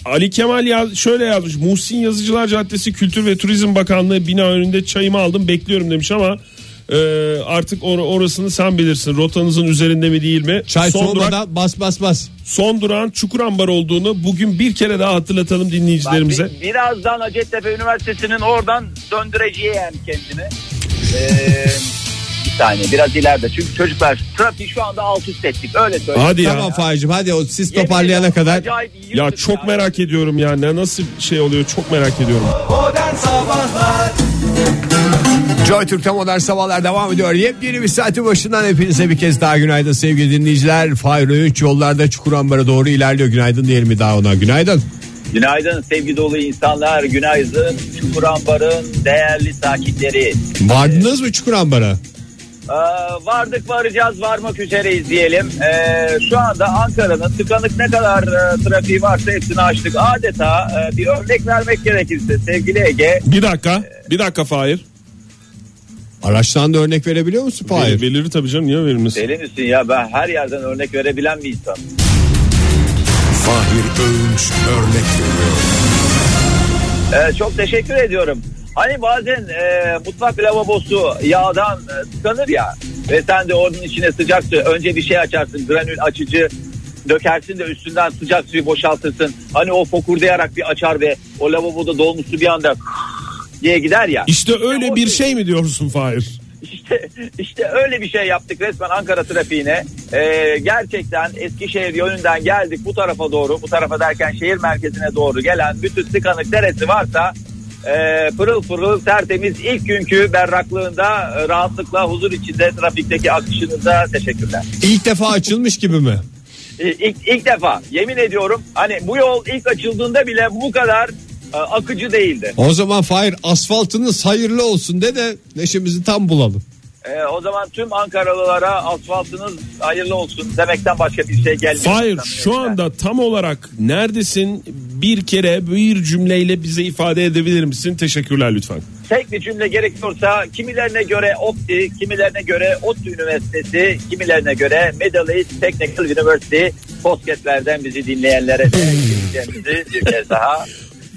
S5: Ali Kemal yaz, şöyle yazmış. Muhsin Yazıcılar Caddesi Kültür ve Turizm Bakanlığı bina önünde çayımı aldım bekliyorum demiş ama e, artık or- orasını sen bilirsin. Rotanızın üzerinde mi değil mi?
S7: Çay
S5: son, durak,
S7: soğumadan bas bas bas.
S5: son durağın Çukurambar olduğunu bugün bir kere daha hatırlatalım
S13: Bak,
S5: dinleyicilerimize.
S13: bi- birazdan Hacettepe Üniversitesi'nin oradan döndüreceği yani kendini. Ee, bir saniye biraz ileride. Çünkü çocuklar trafiği şu anda alt üst ettik. Öyle söyleyeyim.
S5: Hadi ya.
S7: Tamam Fahir'cim hadi o siz
S13: Yemin
S7: toparlayana
S13: ediyorum,
S7: kadar.
S13: acayip iyi
S5: Ya
S13: yürüdük
S5: çok merak ediyorum ya. Ne nasıl şey oluyor çok merak ediyorum.
S2: Modern Sabahlar
S3: Joy Türk'te modern sabahlar devam ediyor. Yepyeni bir saati başından hepinize bir kez daha günaydın sevgili dinleyiciler. Fahir Öğünç yollarda Çukurambar'a doğru ilerliyor. Günaydın diyelim bir daha ona. Günaydın.
S13: Günaydın sevgi dolu insanlar. Günaydın Çukurambar'ın değerli sakinleri.
S7: Vardınız mı Çukurambar'a?
S13: Ee, vardık varacağız varmak üzereyiz diyelim. Ee, şu anda Ankara'nın tıkanık ne kadar e, trafiği varsa hepsini açtık. Adeta e, bir örnek vermek gerekirse sevgili Ege.
S5: Bir dakika. Bir dakika Fahir.
S7: Araçtan da örnek verebiliyor musun
S5: Hayır.
S7: Fahir?
S5: Verir tabii canım niye verilmesin?
S13: Deli misin ya ben her yerden örnek verebilen bir insan.
S1: Fahir Öğünç örnek veriyor.
S13: Ee, çok teşekkür ediyorum. Hani bazen e, mutfak lavabosu yağdan e, tıkanır ya ve sen de onun içine sıcak su önce bir şey açarsın granül açıcı dökersin de üstünden sıcak suyu boşaltırsın. Hani o fokurdayarak bir açar ve o lavaboda dolmuş su bir anda diye gider ya.
S5: İşte öyle bir şey mi diyorsun Fahir?
S13: İşte, işte öyle bir şey yaptık resmen Ankara trafiğine. Ee, gerçekten Eskişehir yönünden geldik bu tarafa doğru. Bu tarafa derken şehir merkezine doğru gelen bütün tıkanık neresi varsa e, pırıl pırıl tertemiz ilk günkü berraklığında e, rahatlıkla huzur içinde trafikteki akışınıza teşekkürler.
S7: İlk defa açılmış gibi mi?
S13: E, İlk, ilk defa yemin ediyorum hani bu yol ilk açıldığında bile bu kadar e, akıcı değildi.
S7: O zaman Fahir asfaltınız hayırlı olsun de de neşemizi tam bulalım.
S13: E, o zaman tüm Ankaralılara asfaltınız hayırlı olsun demekten başka bir şey gelmiyor.
S5: Fahir şu
S13: Sanmıyorum yani.
S5: anda tam olarak neredesin bir kere bir cümleyle bize ifade edebilir misin? Teşekkürler lütfen.
S13: tek bir cümle gerekiyorsa kimilerine göre OPTI, kimilerine göre ODTÜ Üniversitesi, kimilerine göre Middle East Technical University podcastlerden bizi dinleyenlere teşekkür bir kez daha.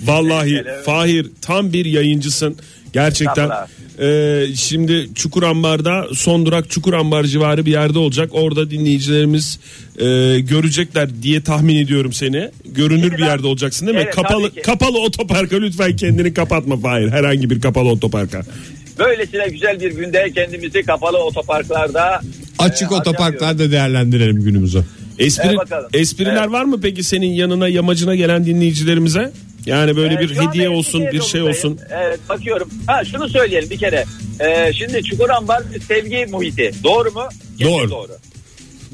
S5: Vallahi
S13: Teşekkür ederim.
S5: Fahir tam bir yayıncısın gerçekten.
S13: Estağfurullah.
S5: Ee, şimdi Çukurambar'da son durak Çukurambar civarı bir yerde olacak. Orada dinleyicilerimiz e, görecekler diye tahmin ediyorum seni. Görünür bir yerde olacaksın değil mi?
S13: Evet,
S5: kapalı
S13: tabii ki.
S5: kapalı otoparka lütfen kendini kapatma Fahir. Herhangi bir kapalı otoparka.
S13: Böylesine güzel bir günde kendimizi kapalı otoparklarda
S7: Açık
S13: e,
S7: otoparklarda değerlendirelim günümüzü.
S5: Espri,
S13: E, bakalım.
S5: espriler var mı peki senin yanına yamacına gelen dinleyicilerimize? Yani böyle
S13: Ee,
S5: bir
S13: şu anda
S5: hediye olsun bir şey
S13: yolundayım.
S5: olsun.
S13: Evet bakıyorum. Ha şunu söyleyelim bir kere. Ee, şimdi Çukurambar bir sevgi muhiti. Doğru mu? Kesin
S5: Doğru.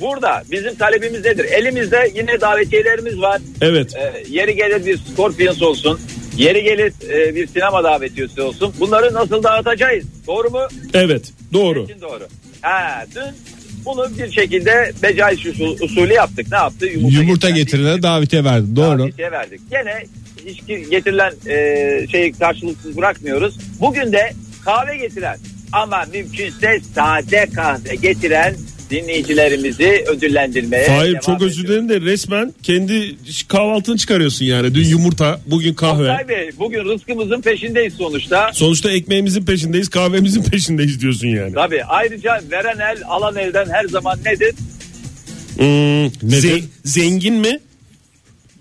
S13: Burada bizim talebimiz nedir? Elimizde yine davetiyelerimiz var.
S5: Evet.
S13: Ee, yeri gelir bir Scorpions olsun. Yeri gelir e, bir sinema davetiyesi olsun. Bunları nasıl dağıtacağız? Doğru mu?
S5: Evet doğru.
S13: Kesin doğru. Ha, dün bunu bir şekilde becaiş usul- usulü yaptık. Ne yaptı? Yumurta
S15: Yumurta getirilene davetiye verdi. Doğru.
S13: Davetiye verdik. Gene hiç ki- getirilen e, şeyi karşılıksız bırakmıyoruz. Bugün de kahve getiren ama mümkünse sade kahve getiren dinleyicilerimizi ödüllendirmeye
S5: Hayır
S13: devam
S5: çok özür dilerim de resmen kendi kahvaltını çıkarıyorsun yani. Dün yumurta, bugün kahve.
S13: Oktay Bey, bugün rızkımızın peşindeyiz sonuçta.
S5: Sonuçta ekmeğimizin peşindeyiz, kahvemizin peşindeyiz diyorsun yani.
S13: Tabii ayrıca veren el alan elden her zaman nedir?
S5: Hmm, ze- zengin mi?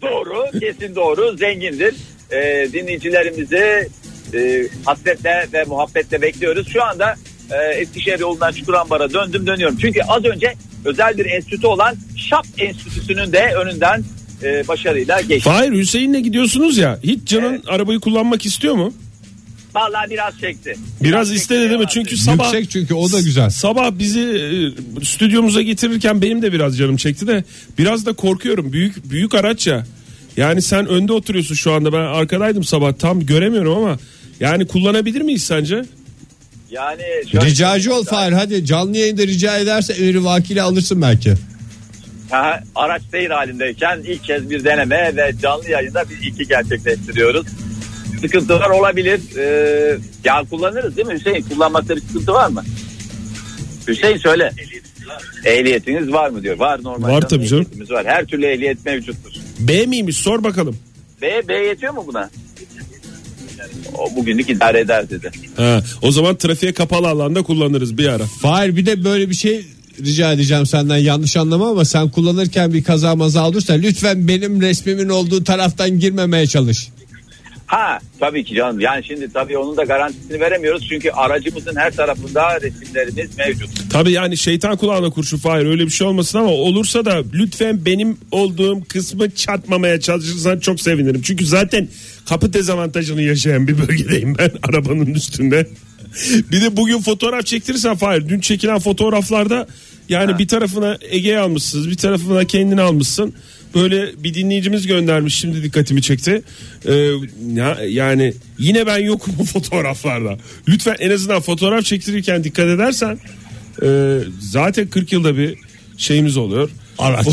S13: Doğru, kesin doğru, zengindir. Ee, dinleyicilerimizi e, hasretle ve muhabbetle bekliyoruz. Şu anda e, Eskişehir yolundan Çukurambar'a döndüm dönüyorum. Çünkü az önce özel bir enstitü olan ŞAP Enstitüsü'nün de önünden e, başarıyla geçtim.
S5: Hayır Hüseyin'le gidiyorsunuz ya. Hiç canın arabayı kullanmak istiyor mu?
S13: Vallahi biraz çekti.
S5: Biraz istedi değil mi? Çünkü sabah
S15: Yüksek çünkü o da güzel.
S5: Sabah bizi e, stüdyomuza getirirken benim de biraz canım çekti de biraz da korkuyorum. Büyük büyük araç ya. Yani sen önde oturuyorsun şu anda. Ben arkadaydım sabah. Tam göremiyorum ama yani kullanabilir miyiz sence?
S13: Yani şöyle-
S15: Ricacı ol Fahir hadi canlı yayında rica ederse emri vakili alırsın belki.
S13: Ha, araç seyir halindeyken ilk kez bir deneme ve canlı yayında bir iki gerçekleştiriyoruz. Sıkıntılar olabilir. Ee, ya kullanırız değil mi Hüseyin? Kullanmakta bir sıkıntı var mı? Hüseyin söyle. Ehliyetiniz var mı diyor. Var normal.
S5: Var tabii canım.
S13: Ehliyetimiz var. Her türlü ehliyet mevcuttur.
S5: B miymiş sor bakalım.
S13: B, B yetiyor mu buna? O bugünlük idare eder dedi.
S5: Ha, o zaman trafiğe kapalı alanda kullanırız bir ara.
S15: Fahir bir de böyle bir şey rica edeceğim senden yanlış anlama ama sen kullanırken bir kaza maza olursa lütfen benim resmimin olduğu taraftan girmemeye çalış.
S13: Ha tabii ki canım. Yani şimdi tabii onun da garantisini veremiyoruz. Çünkü aracımızın her tarafında resimlerimiz mevcut.
S5: Tabii yani şeytan kulağına kurşun Fahir öyle bir şey olmasın ama olursa da lütfen benim olduğum kısmı çatmamaya çalışırsan çok sevinirim. Çünkü zaten kapı dezavantajını yaşayan bir bölgedeyim ben arabanın üstünde. bir de bugün fotoğraf çektirirsen Fahir dün çekilen fotoğraflarda yani bir tarafına Ege'yi almışsınız bir tarafına kendini almışsın. Böyle bir dinleyicimiz göndermiş şimdi dikkatimi çekti. Ee, ya- yani yine ben yokum bu fotoğraflarda. Lütfen en azından fotoğraf çektirirken dikkat edersen ee, zaten 40 yılda bir şeyimiz oluyor. Araç.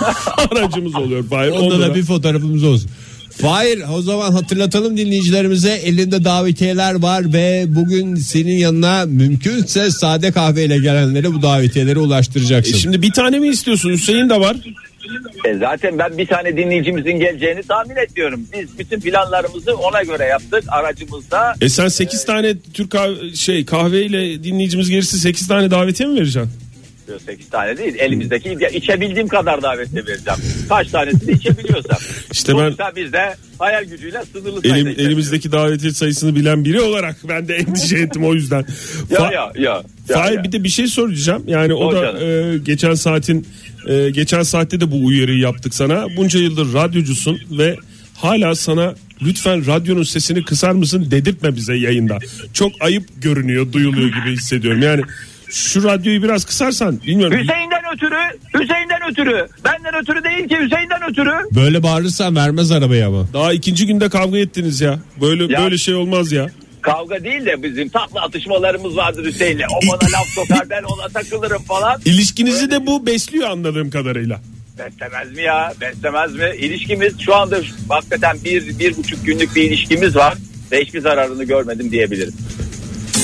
S5: Aracımız oluyor. Hayır,
S15: Onda da bir fotoğrafımız olsun. Fahir o zaman hatırlatalım dinleyicilerimize elinde davetiyeler var ve bugün senin yanına mümkünse sade kahveyle gelenlere bu davetiyeleri ulaştıracaksın.
S5: E şimdi bir tane mi istiyorsun Hüseyin de var.
S13: E zaten ben bir tane dinleyicimizin geleceğini tahmin ediyorum. Biz bütün planlarımızı ona göre yaptık. Aracımızda
S5: E sen 8 tane Türk kahve, şey kahveyle dinleyicimiz gerisi 8 tane davetiye mi vereceksin?
S13: 8 tane değil elimizdeki ya içebildiğim kadar davetiye vereceğim. Kaç tanesini içebiliyorsam.
S5: İşte ben-
S13: Sonuçta biz de hayal gücüyle sınırlı
S5: Elim,
S13: sayıda içebiliyoruz.
S5: elimizdeki davetiye sayısını bilen biri olarak ben de endişe ettim o yüzden.
S13: Ya,
S5: Fa-
S13: ya, ya, ya,
S5: Fahir
S13: ya.
S5: bir de bir şey soracağım. Yani o
S13: Sor
S5: da
S13: canım.
S5: e, geçen saatin e, geçen saatte de bu uyarıyı yaptık sana. Bunca yıldır radyocusun ve hala sana lütfen radyonun sesini kısar mısın dedirtme bize yayında. Çok ayıp görünüyor, duyuluyor gibi hissediyorum. Yani şu radyoyu biraz kısarsan bilmiyorum.
S13: Hüseyin'den ötürü, Hüseyin'den ötürü. Benden ötürü değil ki Hüseyin'den ötürü.
S15: Böyle bağırırsan vermez arabayı ama.
S5: Daha ikinci günde kavga ettiniz ya. Böyle
S13: Ya.
S5: böyle şey olmaz ya.
S13: Kavga değil de bizim tatlı atışmalarımız vardır Hüseyin'le. O bana laf sokar ben ona takılırım falan.
S5: İlişkinizi de bu besliyor anladığım kadarıyla.
S13: Beslemez mi ya? Beslemez mi? İlişkimiz şu anda şu- hakikaten bir, bir buçuk günlük bir ilişkimiz var. Ve hiçbir zararını görmedim diyebilirim.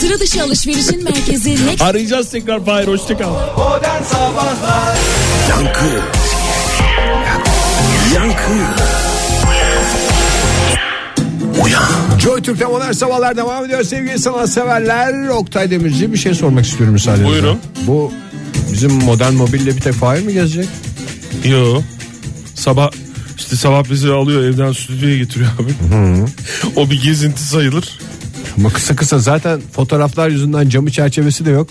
S6: Sıra dışı alışverişin merkezi Next
S5: Arayacağız tekrar Fahir hoşçakal.
S2: Modern Sabahlar
S16: Yankı.
S3: Yankı. Joy Türk'te modern sabahlar devam ediyor sevgili sanatseverler. Oktay Demirci bir şey sormak istiyorum müsaadenizle.
S5: Buyurun.
S3: Bu bizim modern mobille bir tek Fahir mi gezecek?
S5: Yo. Sabah işte sabah bizi alıyor evden stüdyoya getiriyor abi. o bir gezinti sayılır.
S15: Ama kısa kısa zaten fotoğraflar yüzünden camı çerçevesi de yok.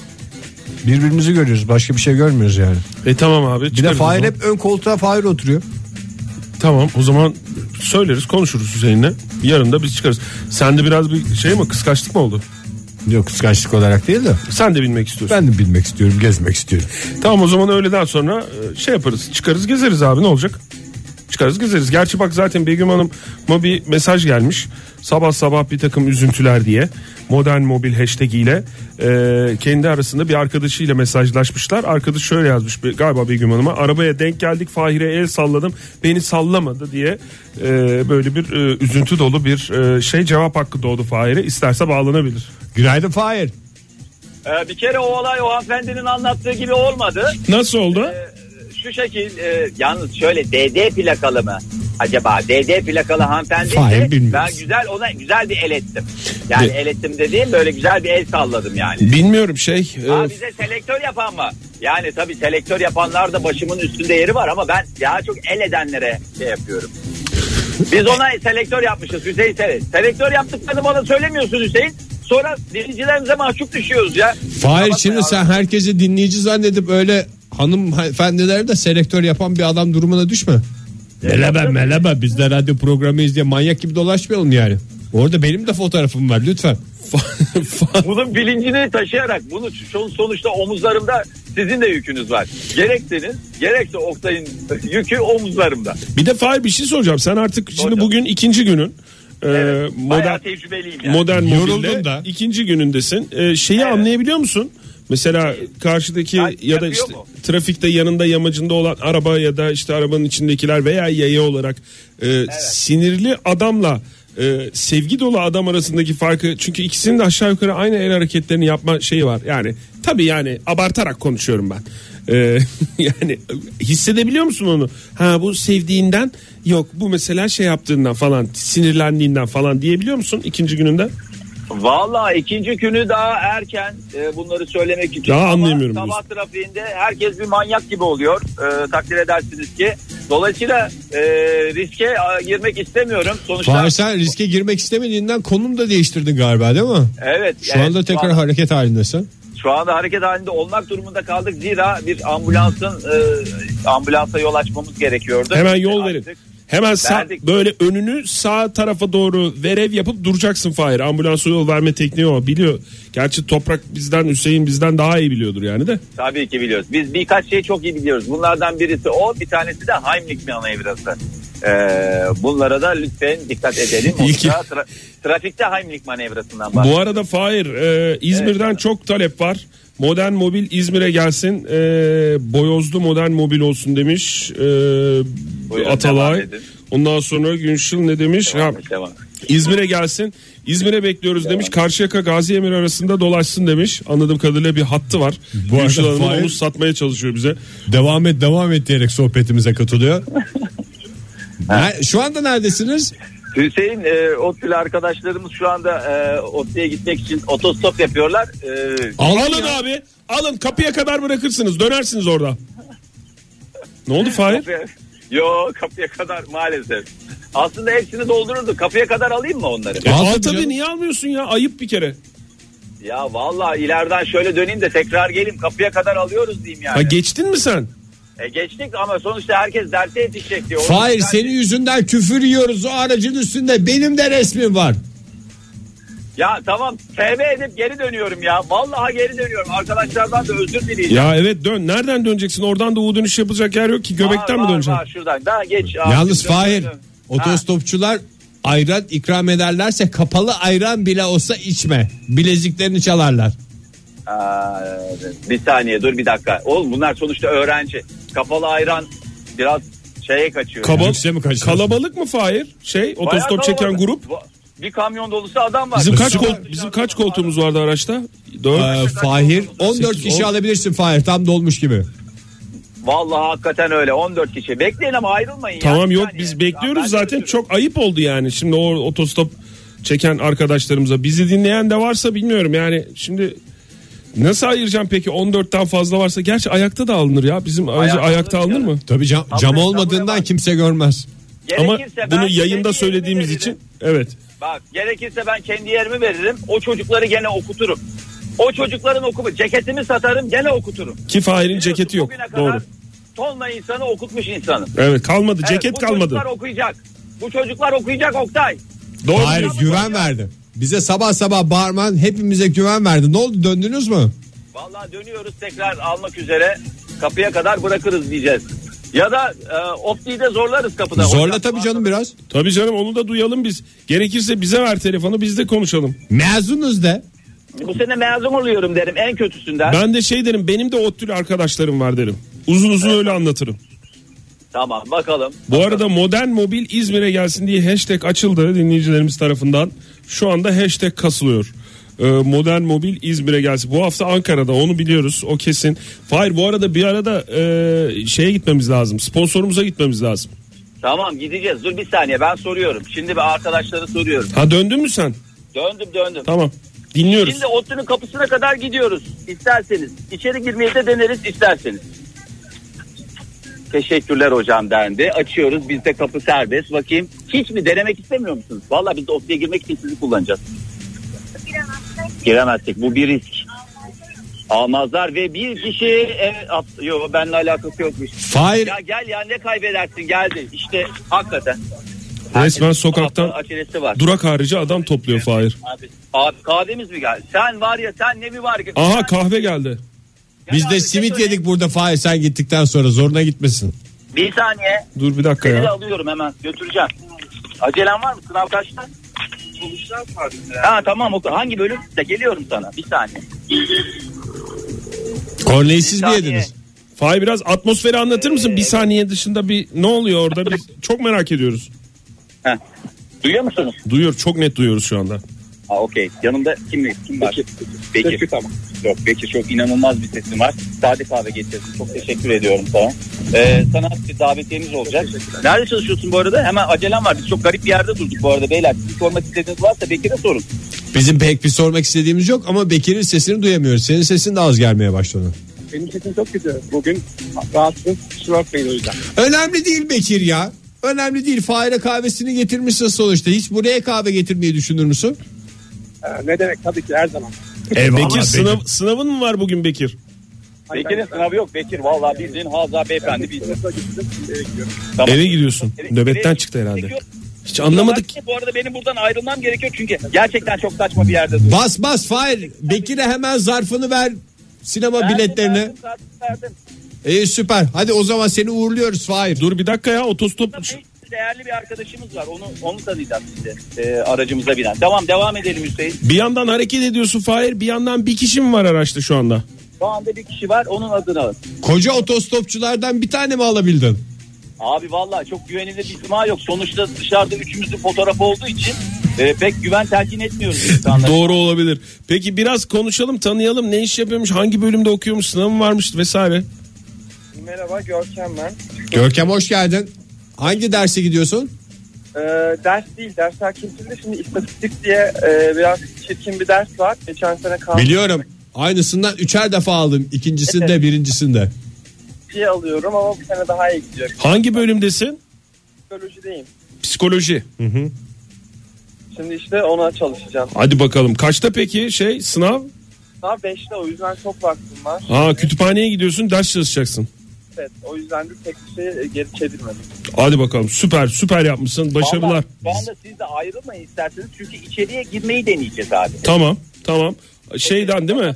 S7: Birbirimizi görüyoruz. Başka bir şey görmüyoruz yani.
S5: E tamam abi.
S7: Bir de
S5: çıkarız o
S7: Fahir
S5: zaman.
S7: hep ön koltuğa Fahir oturuyor.
S5: Tamam o zaman söyleriz konuşuruz Hüseyin'le. Yarın da biz çıkarız. Sen de biraz bir şey mi kıskançlık mı oldu?
S7: Yok kıskançlık olarak değil de.
S5: Sen de bilmek istiyorsun.
S7: Ben de bilmek istiyorum, gezmek istiyorum.
S5: Tamam o zaman öğleden sonra e, şey yaparız. Çıkarız gezeriz abi ne olacak? Çıkarız gezeriz. Gerçi bak zaten Begüm Hanım'a bir mesaj gelmiş. Sabah sabah bir takım üzüntüler diye modern mobil hashtag ile e, kendi arasında bir arkadaşıyla mesajlaşmışlar. Arkadaş şöyle yazmış bir- galiba Begüm Hanım'a arabaya denk geldik Fahir'e el salladım beni sallamadı diye e, böyle bir e, üzüntü dolu bir e, şey cevap hakkı doğdu Fahir'e isterse bağlanabilir.
S7: Günaydın Fahir.
S13: Ee, bir kere o olay o hanımefendinin anlattığı gibi olmadı.
S5: Nasıl oldu?
S13: Şu şekil e, yalnız şöyle DD plakalı mı? Acaba DD plakalı hanımefendi ise
S5: Hayır, bilmiyoruz.
S13: ben güzel ona güzel bir el ettim. Yani
S5: De-
S13: el ettim dediğim böyle güzel bir el salladım yani.
S5: Bilmiyorum şey. e,
S13: Ha bize selektör yapan mı? Yani tabii selektör yapanlar da başımın üstünde yeri var ama ben daha çok el edenlere şey yapıyorum. Biz ona selektör yapmışız Hüseyin Sele. Selektör yaptıklarını bana söylemiyorsun Hüseyin. Sonra dinleyicilerimize mahcup düşüyoruz ya.
S15: Fahir şimdi sen herkesi dinleyici zannedip öyle hanımefendileri de selektör yapan bir adam durumuna düşme. Meleba meleba biz de radyo programıyız diye manyak gibi dolaşmayalım yani. Orada benim de fotoğrafım var lütfen.
S13: Bunun bilincini taşıyarak bunu son- sonuçta omuzlarımda sizin de yükünüz var. Gerekseniz gerekse Oktay'ın yükü omuzlarımda.
S5: Bir de Fahir bir şey soracağım. Sen artık şimdi bugün ikinci günün. Ee, modern,
S13: Bayağı tecrübeliyim yani.
S5: modern
S13: Yoruldum
S5: mobilde
S13: da.
S5: ikinci günündesin. Ee, şeyi anlayabiliyor musun? Mesela
S13: Şey-
S5: karşıdaki ya da işte trafikte yanında yamacında olan araba ya da işte arabanın içindekiler veya yaya olarak e, sinirli adamla e, sevgi dolu adam arasındaki farkı çünkü ikisinin de aşağı yukarı aynı el hareketlerini yapma şeyi var. Yani tabii yani abartarak konuşuyorum ben. Ee, yani hissedebiliyor musun onu? Ha bu sevdiğinden yok bu mesela şey yaptığından falan sinirlendiğinden falan diyebiliyor musun ikinci gününde?
S13: Valla ikinci günü daha erken e, bunları söylemek için.
S5: Daha
S13: Ama
S5: anlayamıyorum
S13: Sabah trafiğinde herkes bir manyak gibi oluyor. E, takdir edersiniz ki. Dolayısıyla e, riske e, girmek istemiyorum. Sonuçta
S15: Fahir sen riske girmek istemediğinden konum da değiştirdin galiba değil mi?
S13: Evet,
S15: Şu
S13: evet,
S15: anda
S13: şu
S15: tekrar
S13: anda.
S15: hareket halindesin.
S13: şu anda hareket halinde olmak durumunda kaldık. Zira bir ambulansın e, ambulansa yol açmamız gerekiyordu. E,
S5: Hemen yol verin. Hemen sağ,
S13: Verdik.
S5: böyle önünü sağ tarafa doğru verev yapıp duracaksın Fahir. Ambulansa yol verme tekniği o biliyor. Gerçi Toprak bizden Hüseyin bizden daha iyi biliyordur yani de.
S13: Tabii ki biliyoruz. Biz birkaç şeyi çok iyi biliyoruz. Bunlardan birisi o, bir tanesi de Heimlich Mihana evrası. Ee, bunlara da lütfen dikkat edelim.
S5: İyi ki-
S13: Tra- tra- trafikte Heimlich manevrasından
S5: Bu
S13: bahsediyoruz.
S5: arada Fahir e, İzmir'den çok talep var. Modern mobil İzmir'e gelsin. E, boyozlu modern mobil olsun demiş e, Atalay. Ondan sonra Günşil ne demiş? Ha, İzmir'e gelsin. İzmir'e bekliyoruz demiş. Karşıyaka Gazi Emir arasında dolaşsın demiş. Anladığım kadarıyla bir hattı var.
S15: Bu arada
S5: Gülşil Hanım'ın
S15: Fahir-
S5: omuz satmaya çalışıyor bize.
S15: Devam et devam et diyerek sohbetimize katılıyor. Ne- Şu anda neredesiniz?
S13: Hüseyin e, ODTÜ'lü arkadaşlarımız şu anda e, ODTÜ'ye gitmek için otostop yapıyorlar. E,
S5: Alın abi. Alın kapıya kadar bırakırsınız. Dönersiniz orada. Ne oldu Fahir?
S13: Kapıya- Yo E, kapıya kadar maalesef. Aslında hepsini doldururduk. Kapıya kadar alayım mı onları?
S5: E, al tabii niye almıyorsun ya? Ayıp bir kere.
S13: Ya vallahi ileriden şöyle döneyim de tekrar geleyim. Kapıya kadar alıyoruz diyeyim yani.
S5: Ha geçtin mi sen?
S13: E geçtik ama sonuçta herkes derse yetişecek diyor.
S15: Fahir
S13: Onun-
S15: senin yüzünden küfür yiyoruz o aracın üstünde benim de resmim var.
S13: Ya tamam TV edip geri dönüyorum ya. Vallahi geri dönüyorum. Arkadaşlardan da özür dileyeceğim.
S5: Ya evet dön. Nereden döneceksin? Oradan da U dönüş yapılacak yer yok ki. Göbekten
S13: Var,
S5: mi
S13: var,
S5: döneceksin?
S13: var, şuradan. Daha geç. abi.
S15: Yalnız
S13: Dön,
S15: Fahir
S13: dön, dön.
S15: otostopçular ayran ikram ederlerse kapalı ayran bile olsa içme. Bileziklerini çalarlar.
S13: Aa, bir saniye dur bir dakika. Oğlum bunlar sonuçta öğrenci. Kapalı ayran biraz şeye kaçıyor.
S5: Kaba-
S13: Yani.
S5: kalabalık mı Fahir? Şey
S13: Bayağı
S5: otostop çeken
S13: kalabalık.
S5: grup.
S13: Va- Bir kamyon dolusu adam var.
S5: Bizim kaç
S13: Dışarı-
S5: kol- bizim kaç koltuğumuz vardı araçta? 4.
S15: Ee, Fahir 14 kişi alabilirsin Fahir tam dolmuş gibi.
S13: Vallahi hakikaten öyle 14 kişi. Bekleyin ama ayrılmayın. ya.
S5: Tamam yok biz bekliyoruz zaten çok ayıp oldu yani. Şimdi o otostop çeken arkadaşlarımıza bizi dinleyen de varsa bilmiyorum yani şimdi Nasıl ayıracağım peki 14'ten fazla varsa? Gerçi ayakta da alınır ya. Bizim aracı
S15: Ayakta
S5: ayakta alınır mı?
S15: Tabii cam, cam olmadığından kimse görmez.
S5: Ama
S13: Gerekirse ben şey
S5: bunu
S13: kendi
S5: yayında
S13: yerimi
S5: söylediğimiz
S13: veririm.
S5: için evet.
S13: Bak gerekirse ben kendi yerimi veririm. O çocukları gene okuturum. O çocukların okuma ceketimi satarım gene okuturum.
S5: Ki Fahir'in ceketi yok.
S13: Bugüne kadar
S5: Doğru.
S13: tonla insanı okutmuş insanım.
S5: Evet kalmadı ceket
S13: bu
S5: kalmadı.
S13: çocuklar okuyacak. Bu çocuklar okuyacak Oktay.
S3: Doğru. Hayır güven verdi. Bize sabah sabah bağırman hepimize güven verdi. Ne oldu döndünüz mü?
S13: Vallahi dönüyoruz tekrar almak üzere. Kapıya kadar bırakırız diyeceğiz. Ya da e, Opti'yi de zorlarız kapıda.
S3: Zorla tabii canım biraz.
S5: Tabii canım onu da duyalım biz. Gerekirse bize ver telefonu biz de konuşalım.
S3: Mezunuz de.
S13: Bu sene mezun oluyorum derim en kötüsünden.
S5: Ben de şey derim benim de ODTÜ'lü arkadaşlarım var derim. Uzun uzun öyle anlatırım.
S13: Tamam bakalım.
S5: Bu arada modern mobil İzmir'e gelsin diye hashtag açıldı dinleyicilerimiz tarafından. Şu anda hashtag kasılıyor. Ee, modern mobil İzmir'e gelsin. Bu hafta Ankara'da onu biliyoruz o kesin. Hayır bu arada bir arada e, şeye gitmemiz lazım. Sponsorumuza gitmemiz lazım.
S13: Tamam gideceğiz. Dur bir saniye ben soruyorum. Şimdi bir arkadaşları soruyorum.
S5: Ha döndün mü sen?
S13: Döndüm döndüm.
S5: Tamam. Dinliyoruz.
S13: Şimdi Ottu'nun kapısına kadar gidiyoruz. İsterseniz. içeri girmeyi de deneriz isterseniz. Teşekkürler hocam dendi. Açıyoruz. Bizde kapı serbest. Bakayım. Hiç mi denemek istemiyor musunuz? Valla biz de Ottu'ya girmek için sizi kullanacağız. Giremezsek bu bir risk. Almazlar ve bir kişi evet, at- yo benle alakası yokmuş.
S3: Hayır.
S13: Ya gel ya ne kaybedersin geldi. İşte hakikaten.
S5: Resmen sokaktan
S13: Acelesi var.
S5: durak harici adam topluyor Fahir.
S13: Abi, abi kahvemiz mi geldi? Sen var ya sen ne mi var? ki?
S5: Aha kahve geldi.
S3: Biz de simit
S13: şey
S3: yedik burada Fahir sen gittikten sonra zoruna gitmesin.
S13: Bir saniye.
S5: Dur bir dakika
S13: Seni de
S5: ya.
S13: alıyorum hemen götüreceğim. Acelen var mı? Sınav kaçta? Ha tamam oku. Hangi bölüm? De geliyorum sana. Bir saniye.
S3: Korneyi siz mi yediniz?
S5: Fahir biraz atmosferi anlatır mısın? Bir saniye dışında bir ne oluyor orada? Biz çok merak ediyoruz.
S13: Duyuyor musunuz?
S5: Duyuyor. Çok net duyuyoruz şu anda.
S13: Ha okey. Yanımda kim kim var? Bekir. Bekir tamam. Yok Bekir çok inanılmaz bir sesin var. Sade kahve getirdin. Çok teşekkür ediyorum sana. Ee, sana bir davetiyemiz olacak. Nerede çalışıyorsun bu arada? Hemen acelen var. Biz çok garip bir yerde durduk bu arada beyler. Bir sormak istediğiniz varsa Bekir'e sorun.
S3: Bizim pek bir sormak istediğimiz yok ama Bekir'in sesini duyamıyoruz. Senin sesin de az gelmeye başladı.
S9: Benim sesim çok kötü. Bugün rahatsız kusura bakmayın o yüzden.
S3: Önemli değil Bekir ya. Önemli değil. Fahir'e kahvesini getirmişsin sonuçta. Hiç buraya kahve getirmeyi düşünür müsün?
S9: Ee, ne demek tabii ki her zaman.
S5: E, Bekir, sınav, sınavın mı var bugün Bekir?
S13: Bekir'in sınavı yok. Bekir vallahi bildiğin Hazza beyefendi bildiğin.
S5: Eve gidiyorsun. Nöbetten çıktı herhalde. Hiç anlamadık.
S13: Bu arada benim buradan ayrılmam gerekiyor çünkü gerçekten çok saçma bir yerde durdum.
S3: Bas bas Fahir. Bekir'e hemen zarfını ver. Sinema biletlerini. İyi süper. Hadi o zaman seni uğurluyoruz Fahir.
S5: Dur bir dakika ya otostop.
S13: Değerli bir arkadaşımız var. Onu onu tanıyacağız şimdi. Ee, aracımıza binen. Tamam devam edelim Hüseyin.
S5: Bir yandan hareket ediyorsun Fahir. Bir yandan bir kişi mi var araçta şu anda?
S13: Şu anda bir kişi var. Onun adını alın.
S3: Koca otostopçulardan bir tane mi alabildin?
S13: Abi vallahi çok güvenilir bir ima yok. Sonuçta dışarıda üçümüzün fotoğrafı olduğu için e, pek güven telkin etmiyoruz insanlara.
S5: Doğru olabilir. Peki biraz konuşalım tanıyalım. Ne iş yapıyormuş? Hangi bölümde okuyormuş? Sınavı varmış vesaire.
S9: Merhaba Görkem ben.
S3: Görkem hoş geldin. Hangi derse gidiyorsun?
S9: Ee, ders değil dersler kesildi. Şimdi istatistik diye e, biraz çirkin bir ders var. Geçen sene kaldı.
S3: Biliyorum. Aynısından üçer defa aldım. İkincisinde birincisinde.
S9: Diye şey alıyorum ama bu sene daha iyi gidiyor.
S5: Hangi bölümdesin?
S9: Psikolojideyim.
S5: Psikoloji.
S9: Şimdi işte ona çalışacağım.
S5: Hadi bakalım. Kaçta peki şey sınav?
S9: Daha 5'te o yüzden çok vaktim var.
S5: Ha kütüphaneye gidiyorsun ders çalışacaksın.
S9: Evet, o yüzden de pek bir şey e, geri çevirmedim.
S5: Hadi bakalım süper süper yapmışsın başarılar.
S13: Vallahi Şu anda siz de ayrılmayın isterseniz. Çünkü içeriye girmeyi deneyeceğiz abi.
S5: Tamam tamam şeyden değil mi?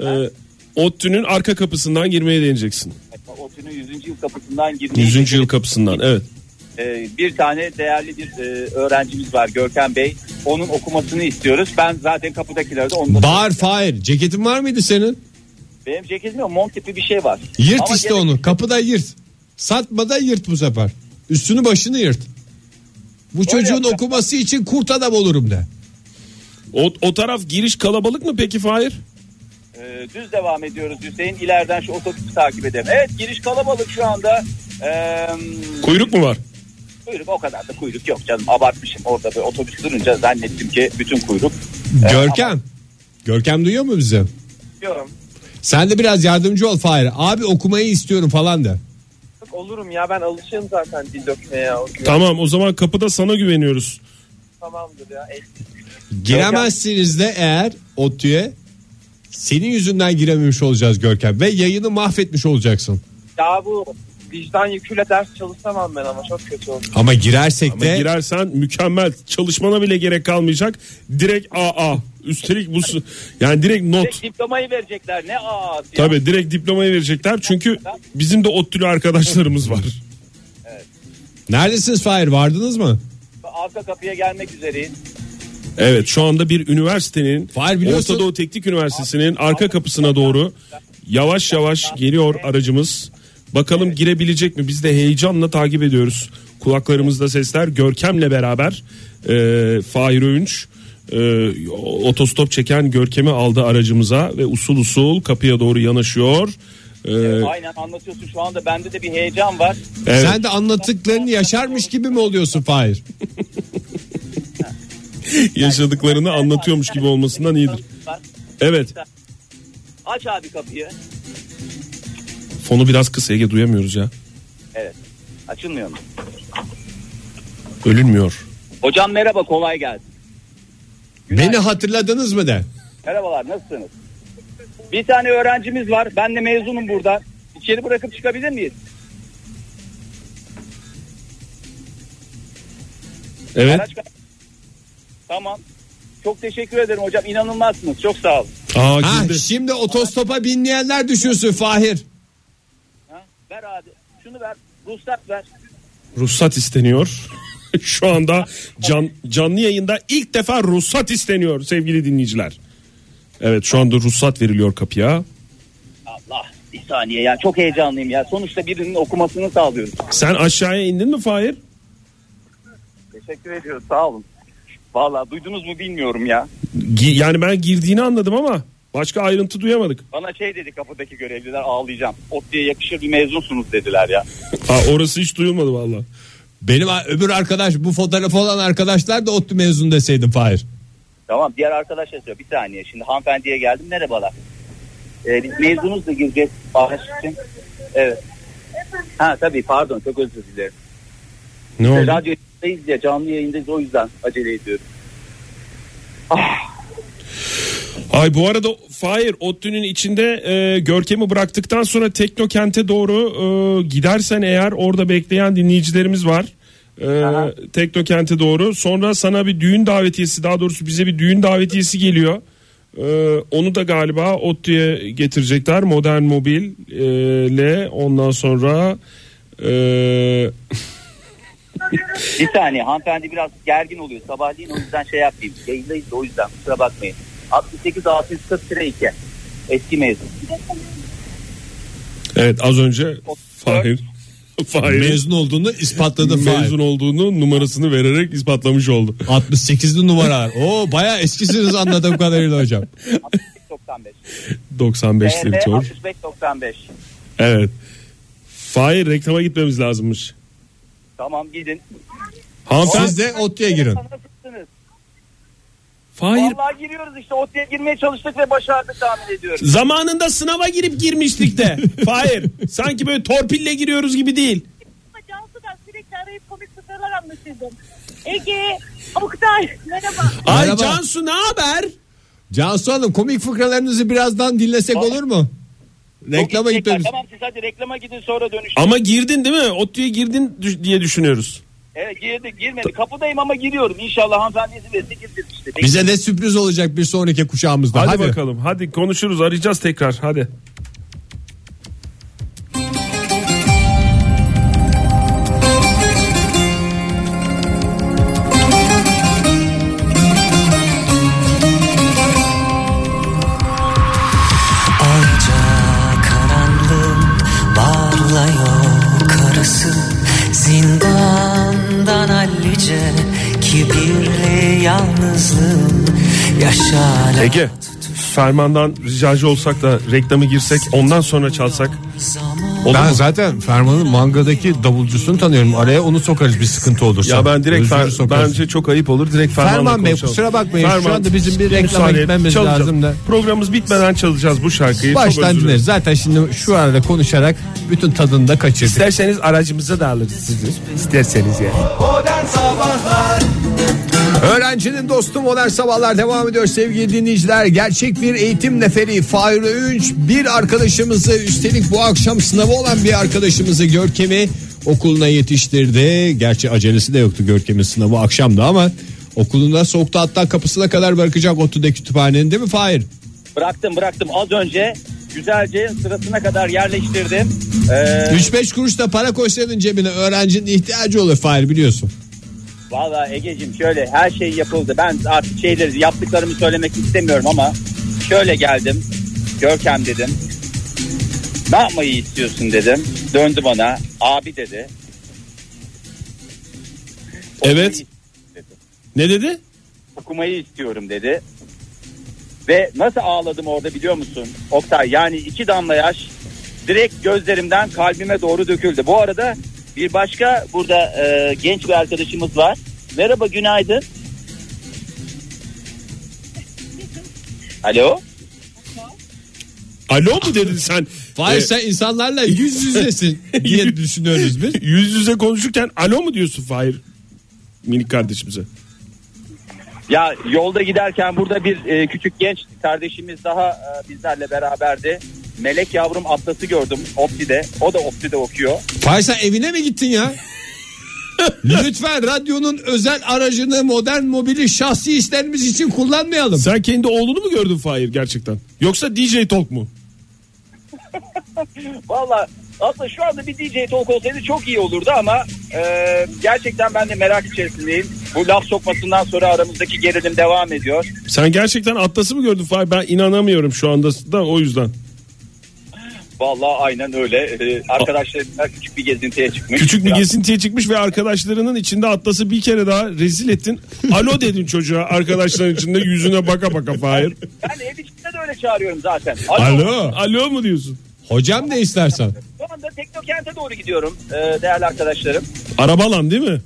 S5: Ee, ODTÜ'nün arka kapısından girmeye deneyeceksin.
S13: Otünün 100. yıl kapısından girmeyi
S5: 100. yıl kapısından evet.
S13: Ee, bir tane değerli bir e, öğrencimiz var Görkem Bey. Onun okumasını istiyoruz. Ben zaten kapıdakilerde onları...
S3: Bağır Fahir. Ceketin var mıydı senin?
S13: Benim ceketim yok. Mont tipi bir şey var.
S3: Yırt
S13: Ama
S3: işte
S13: gene-
S3: onu. Kapıda yırt. Satmada yırt bu sefer. Üstünü başını yırt. Bu çocuğun okuması için kurt adam olurum de.
S5: O, o taraf giriş kalabalık mı peki Fahir?
S13: Ee, düz devam ediyoruz Hüseyin. İleriden şu otobüsü takip edelim. Evet giriş kalabalık şu anda. Ee,
S5: Kuyruk mu var?
S13: kuyruk o kadar da kuyruk yok canım. Abartmışım. Orada bir otobüs durunca zannettim ki bütün kuyruk.
S3: Görkem. Görkem duyuyor mu bizi?
S9: Diyorum.
S3: Sen de biraz yardımcı ol Fahir. Abi okumayı istiyorum falan de.
S9: Olurum ya ben alışığım zaten dil dökmeye. O güven-
S5: Tamam o zaman kapıda sana güveniyoruz.
S9: Tamamdır ya.
S3: Giremezsiniz de eğer ODTÜ'ye Senin yüzünden girememiş olacağız Görkem ve yayını mahvetmiş olacaksın.
S17: Ya bu vicdan yüküyle ders çalışamam ben ama çok kötü oldu.
S3: Ama girersek
S5: Ama girersen mükemmel çalışmana bile gerek kalmayacak. Direkt AA. Üstelik bu s- yani direkt not.
S13: Direkt diplomayı verecekler. Ne ağası ya.
S5: Tabii direkt diplomayı verecekler. Çünkü bizim de ODTÜ'lü arkadaşlarımız var.
S3: Neredesiniz Fahir vardınız mı?
S13: Arka kapıya gelmek üzereyiz.
S5: Evet şu anda bir üniversitenin
S3: biliyorsun-
S5: Orta Doğu Teknik Üniversitesi'nin arka kapısına doğru yavaş yavaş geliyor aracımız. Bakalım girebilecek mi? Biz de heyecanla takip ediyoruz. Kulaklarımızda sesler Görkem'le beraber e, Fahir Öğünç e, otostop çeken Görkem'i aldı aracımıza ve usul usul kapıya doğru yanaşıyor. E,
S13: Aynen anlatıyorsun şu anda bende de bir heyecan var.
S5: Evet.
S3: Sen de anlattıklarını yaşarmış gibi mi oluyorsun Fahir?
S5: yaşadıklarını anlatıyormuş gibi olmasından iyidir. Evet
S13: Aç abi kapıyı.
S5: fonu biraz kıs Ege duyamıyoruz ya.
S13: Evet. Açılmıyor mu?
S5: Ölünmüyor.
S13: Hocam merhaba kolay gelsin.
S3: Beni hatırladınız mı de?
S13: Merhabalar nasılsınız? Bir tane öğrencimiz var. Ben de mezunum burada. İçeri bırakıp çıkabilir miyiz?
S5: Evet.
S13: Araç- Tamam. Çok teşekkür ederim hocam. İnanılmazsınız. Çok sağ olun.
S3: ha, şimdi. otostopa binleyenler düşünsün Fahir.
S13: Ver abi. Şunu ver. Ruhsat ver.
S5: ruhsat isteniyor. Şu anda can, canlı yayında ilk defa ruhsat isteniyor sevgili dinleyiciler. Evet şu anda ruhsat veriliyor kapıya.
S13: Allah bir saniye ya. Çok heyecanlıyım ya. Sonuçta birinin okumasını sağlıyoruz.
S5: Sen aşağıya indin mi Fahir?
S13: Teşekkür ediyoruz. Sağ olun. Vallahi duydunuz mu bilmiyorum ya.
S5: Gi- yani ben girdiğini anladım ama başka ayrıntı duyamadık.
S13: Bana şey dedi kapıdaki görevliler ağlayacağım. Ot diye yakışır bir mezunsunuz dediler ya.
S5: Ha, orası hiç duyulmadı valla.
S3: Benim a- öbür arkadaş bu fotoğrafı olan arkadaşlar da ODTÜ mezun deseydim Fahir.
S13: Tamam diğer arkadaş yazıyor. Bir saniye şimdi hanımefendiye geldim. Merhabalar. Ee, biz mezunuz da gireceğiz. Bahşiş için. Evet. Ha tabii pardon çok özür dilerim.
S5: Ne
S13: Ee,
S5: oldu?
S13: Radyodayız ya canlı yayındayız o yüzden acele ediyorum.
S5: Ay bu arada Fahir ODTÜ'nün içinde e, Görkem'i bıraktıktan sonra Teknokent'e doğru e, gidersen eğer orada bekleyen dinleyicilerimiz var. E, Teknokent'e doğru. Sonra sana bir düğün davetiyesi daha doğrusu bize bir düğün davetiyesi geliyor. E, onu da galiba ODTÜ'ye getirecekler. Modern Mobil e, ile ondan sonra e,
S13: Bir saniye hanımefendi biraz gergin oluyor. Sabahleyin o yüzden şey yapayım. Yayındayız da o yüzden kusura bakmayın. 68 640 2 eski mezun.
S5: evet az önce Fahir Fahir
S3: Mezun olduğunu ispatladı
S5: mezun
S3: Fahir.
S5: olduğunu numarasını vererek ispatlamış oldu.
S3: 68'li numaralar. Oo bayağı eskisiniz anladığım kadarıyla hocam.
S13: 95.
S5: 95
S13: E
S5: diyor.
S13: 65 95.
S5: Evet. Fahir reklama gitmemiz lazımmış.
S13: Tamam gidin.
S5: Hanımefendi
S3: Siz de ODTÜ'ye girin.
S13: Nasılsınız?
S5: Fahir
S13: Vallahi giriyoruz işte OT'ye girmeye çalıştık ve başardık tahmin ediyorum.
S5: zamanında sınava girip girmiştik de. Fahir sanki böyle torpille giriyoruz gibi değil.
S6: Cansu'dan sürekli arayıp komik fıkralar anlatıyordum. Ege, Oktay, merhaba.
S3: Merhaba.
S5: E, Cansu ne haber?
S3: Cansu Hanım komik fıkralarınızı birazdan dinlesek olur mu? Reklama gitmemiz.
S13: Tamam siz hadi reklama gidin sonra dönüş.
S5: Ama girdin değil mi? ODTÜ'ye girdin düş- diye düşünüyoruz.
S13: Evet girdik girmedi. Kapıdayım ama giriyorum. İnşallah hanımefendi izin verirse girdim işte. Bekle.
S3: Bize de sürpriz olacak bir sonraki kuşağımızda.
S5: Hadi,
S3: Hadi,
S5: bakalım. Hadi konuşuruz. Arayacağız tekrar. Hadi.
S9: Ayca karanlığın bağırlıyor karısı Zindandan hallice kibirli yalnızlığın Yaşa la-
S5: Ege. Ferman'dan ricacı olsak da reklamı girsek ondan sonra çalsak. Olur
S2: ben
S5: mu?
S2: zaten Ferman'ın mangadaki davulcusunu tanıyorum. Araya onu sokarız bir sıkıntı olursa.
S5: Ya ben direkt
S2: Özgür'ü
S5: Fer-
S2: sokarız.
S5: bence çok ayıp olur. Direkt Ferman'la
S2: Ferman Bey,
S5: konuşalım.
S2: kusura bakmayın. Şu anda bizim bir reklama
S5: müsaade et.
S2: gitmemiz
S5: Çalacağım.
S2: lazım da.
S5: Programımız bitmeden çalacağız bu şarkıyı. Çok özür
S2: Baştan
S5: dilerim.
S2: dinleriz. Zaten şimdi şu arada konuşarak bütün tadını da kaçırdık. İsterseniz aracımıza da alırız sizi. İsterseniz yani.
S18: Modern Sabahlar
S19: Öğrencinin dostu modern sabahlar devam ediyor sevgili dinleyiciler. Gerçek bir eğitim neferi Fahir Öğünç bir arkadaşımızı üstelik bu akşam sınavı olan bir arkadaşımızı Görkem'i okuluna yetiştirdi. Gerçi acelesi de yoktu Görkem'in sınavı akşamdı ama okuluna soktu hatta kapısına kadar bırakacak ODTÜ'de kütüphanenin değil mi Fahir?
S13: Bıraktım bıraktım az önce güzelce sırasına kadar yerleştirdim. Ee,
S3: 3-5 kuruş da para koysaydın cebine öğrencinin ihtiyacı olur Fahir biliyorsun.
S13: Valla Ege'cim şöyle her şey yapıldı. Ben artık şeyleri yaptıklarımı söylemek istemiyorum ama şöyle geldim. Görkem dedim. Ne yapmayı istiyorsun dedim. Döndü bana. Abi dedi.
S5: Evet. Ne dedi?
S13: Okumayı istiyorum dedi. Ve nasıl ağladım orada biliyor musun? Oktay yani iki damla yaş direkt gözlerimden kalbime doğru döküldü. Bu arada bir başka burada e, genç bir arkadaşımız var. Merhaba günaydın. Alo.
S5: Alo mu dedin sen? Ee,
S3: Fahir sen insanlarla yüz yüzesin diye düşünüyoruz biz.
S5: yüz yüze konuşurken alo mu diyorsun Fahir? Minik kardeşimize.
S13: Ya yolda giderken burada bir e, küçük genç kardeşimiz daha e, bizlerle beraberdi. Melek yavrum atlası gördüm Opti'de. O da Opti'de okuyor.
S3: Fahir sen evine mi gittin ya? Lütfen radyonun özel aracını modern mobili şahsi işlerimiz için kullanmayalım.
S5: Sen kendi oğlunu mu gördün Fahir gerçekten? Yoksa DJ Talk mu?
S13: Valla aslında şu anda bir DJ talk olsaydı çok iyi olurdu ama e, gerçekten ben de merak içerisindeyim. Bu laf sokmasından sonra aramızdaki gerilim devam ediyor.
S5: Sen gerçekten atlası mı gördün Fahir? Ben inanamıyorum şu anda da o yüzden.
S13: Vallahi aynen öyle. E, arkadaşlarımla küçük bir gezintiye çıkmış.
S5: Küçük bir
S13: Biraz-
S5: gezintiye çıkmış ve arkadaşlarının içinde atlası bir kere daha rezil ettin. Alo dedin çocuğa arkadaşların içinde yüzüne baka baka Fahir.
S13: Ben ev içinde de öyle çağırıyorum zaten.
S5: Alo. Alo mu diyorsun?
S3: Hocam ne istersen.
S13: Şu anda Teknokent'e doğru gidiyorum e, değerli arkadaşlarım.
S5: Arabalan değil mi?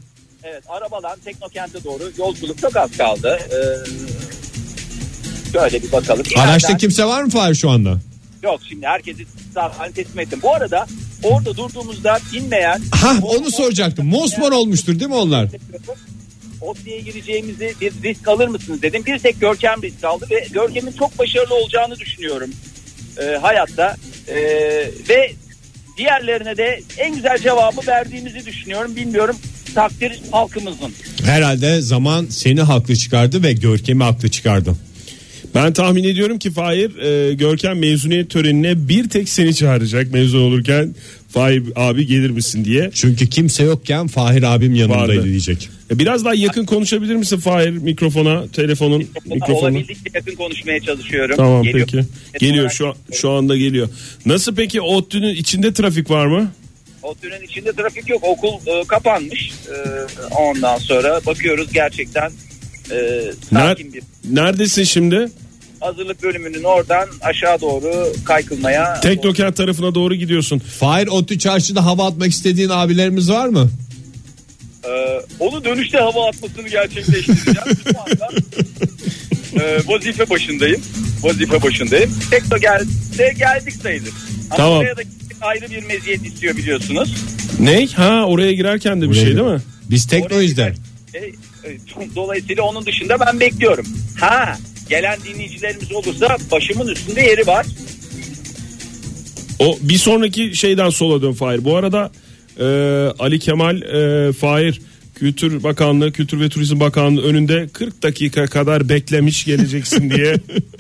S13: Evet arabalan Teknokent'e doğru yolculuk çok az kaldı. E, şöyle bir bakalım.
S3: Araçta
S13: İleriden-
S3: kimse var mı Fahir şu anda?
S13: Yok şimdi herkesi zaten teslim ettim. Bu arada orada durduğumuzda inmeyen
S3: Ha onu soracaktım. Mosmor olmuştur değil mi onlar?
S13: Otlu'ya gireceğimizi bir risk alır mısınız dedim. Bir tek Görkem risk aldı ve Görkem'in çok başarılı olacağını düşünüyorum e, hayatta. E, ve diğerlerine de en güzel cevabı verdiğimizi düşünüyorum. Bilmiyorum takdir halkımızın.
S3: Herhalde zaman seni haklı çıkardı ve Görkem'i haklı çıkardı.
S5: Ben tahmin ediyorum ki Fahir e, Görkem mezuniyet törenine bir tek seni çağıracak mezun olurken. Fahir abi gelir misin diye.
S3: Çünkü kimse yokken Fahir abim yanımdaydı
S5: Vardı.
S3: diyecek.
S5: E, Biraz daha yakın konuşabilir misin Fahir mikrofona, telefonun mikrofonu?
S13: Olabildikçe yakın konuşmaya çalışıyorum.
S5: Tamam
S13: Geliyor.
S5: peki. Geliyor şu an- şu anda geliyor. Nasıl peki ODTÜ'nün içinde trafik var mı?
S13: Otlu'nun içinde trafik yok. Okul e, kapanmış. E, ondan sonra bakıyoruz gerçekten e, sakin bir
S5: Neredesin şimdi?
S13: hazırlık bölümünün oradan aşağı doğru kaykılmaya.
S5: Teknokent tarafına doğru gidiyorsun.
S3: Fahir Ottu Çarşı'da hava atmak istediğin abilerimiz var mı?
S13: Ee, onu dönüşte hava atmasını gerçekleştireceğim. Şu anda, e, vazife başındayım. Vazife başındayım. Tekno gelse geldik sayılır. Ama
S5: Tamam.
S13: oraya da gitmek ayrı bir meziyet istiyor biliyorsunuz.
S5: Ne? Ha oraya girerken de bir şey değil mi?
S3: Biz teknoyuz der.
S13: E, e, dolayısıyla onun dışında ben bekliyorum. Ha gelen dinleyicilerimiz olursa başımın üstünde yeri var.
S5: O bir sonraki şeyden sola dön Fahir. Bu arada e, Ali Kemal e, Fahir Kültür Bakanlığı, Kültür ve Turizm Bakanlığı önünde 40 dakika kadar beklemiş geleceksin diye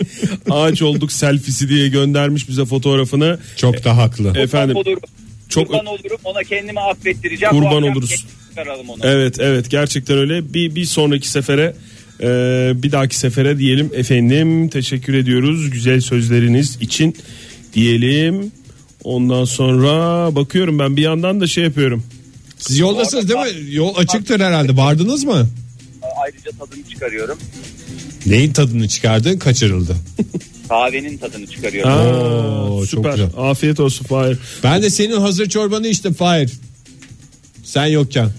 S5: ağaç olduk selfisi diye göndermiş bize fotoğrafını.
S3: Çok da haklı.
S5: Efendim.
S13: Olurum.
S5: Çok
S13: kurban olurum ona kendimi affettireceğim.
S5: Kurban
S13: Bu akşam
S5: oluruz. E-
S13: kesin Çıkaralım onu.
S5: Evet evet gerçekten öyle. Bir, bir sonraki sefere e, bir dahaki sefere diyelim efendim teşekkür ediyoruz güzel sözleriniz için diyelim. Ondan sonra bakıyorum ben bir yandan da şey yapıyorum.
S3: Siz yoldasınız değil mi? Yol açıktır herhalde. Vardınız mı?
S13: Ayrıca tadını çıkarıyorum.
S3: Neyin tadını çıkardın? Kaçırıldı.
S13: Kahvenin tadını çıkarıyorum.
S5: Aa, süper. Afiyet olsun Fahir.
S3: Ben de senin hazır çorbanı içtim Fahir. Sen yokken.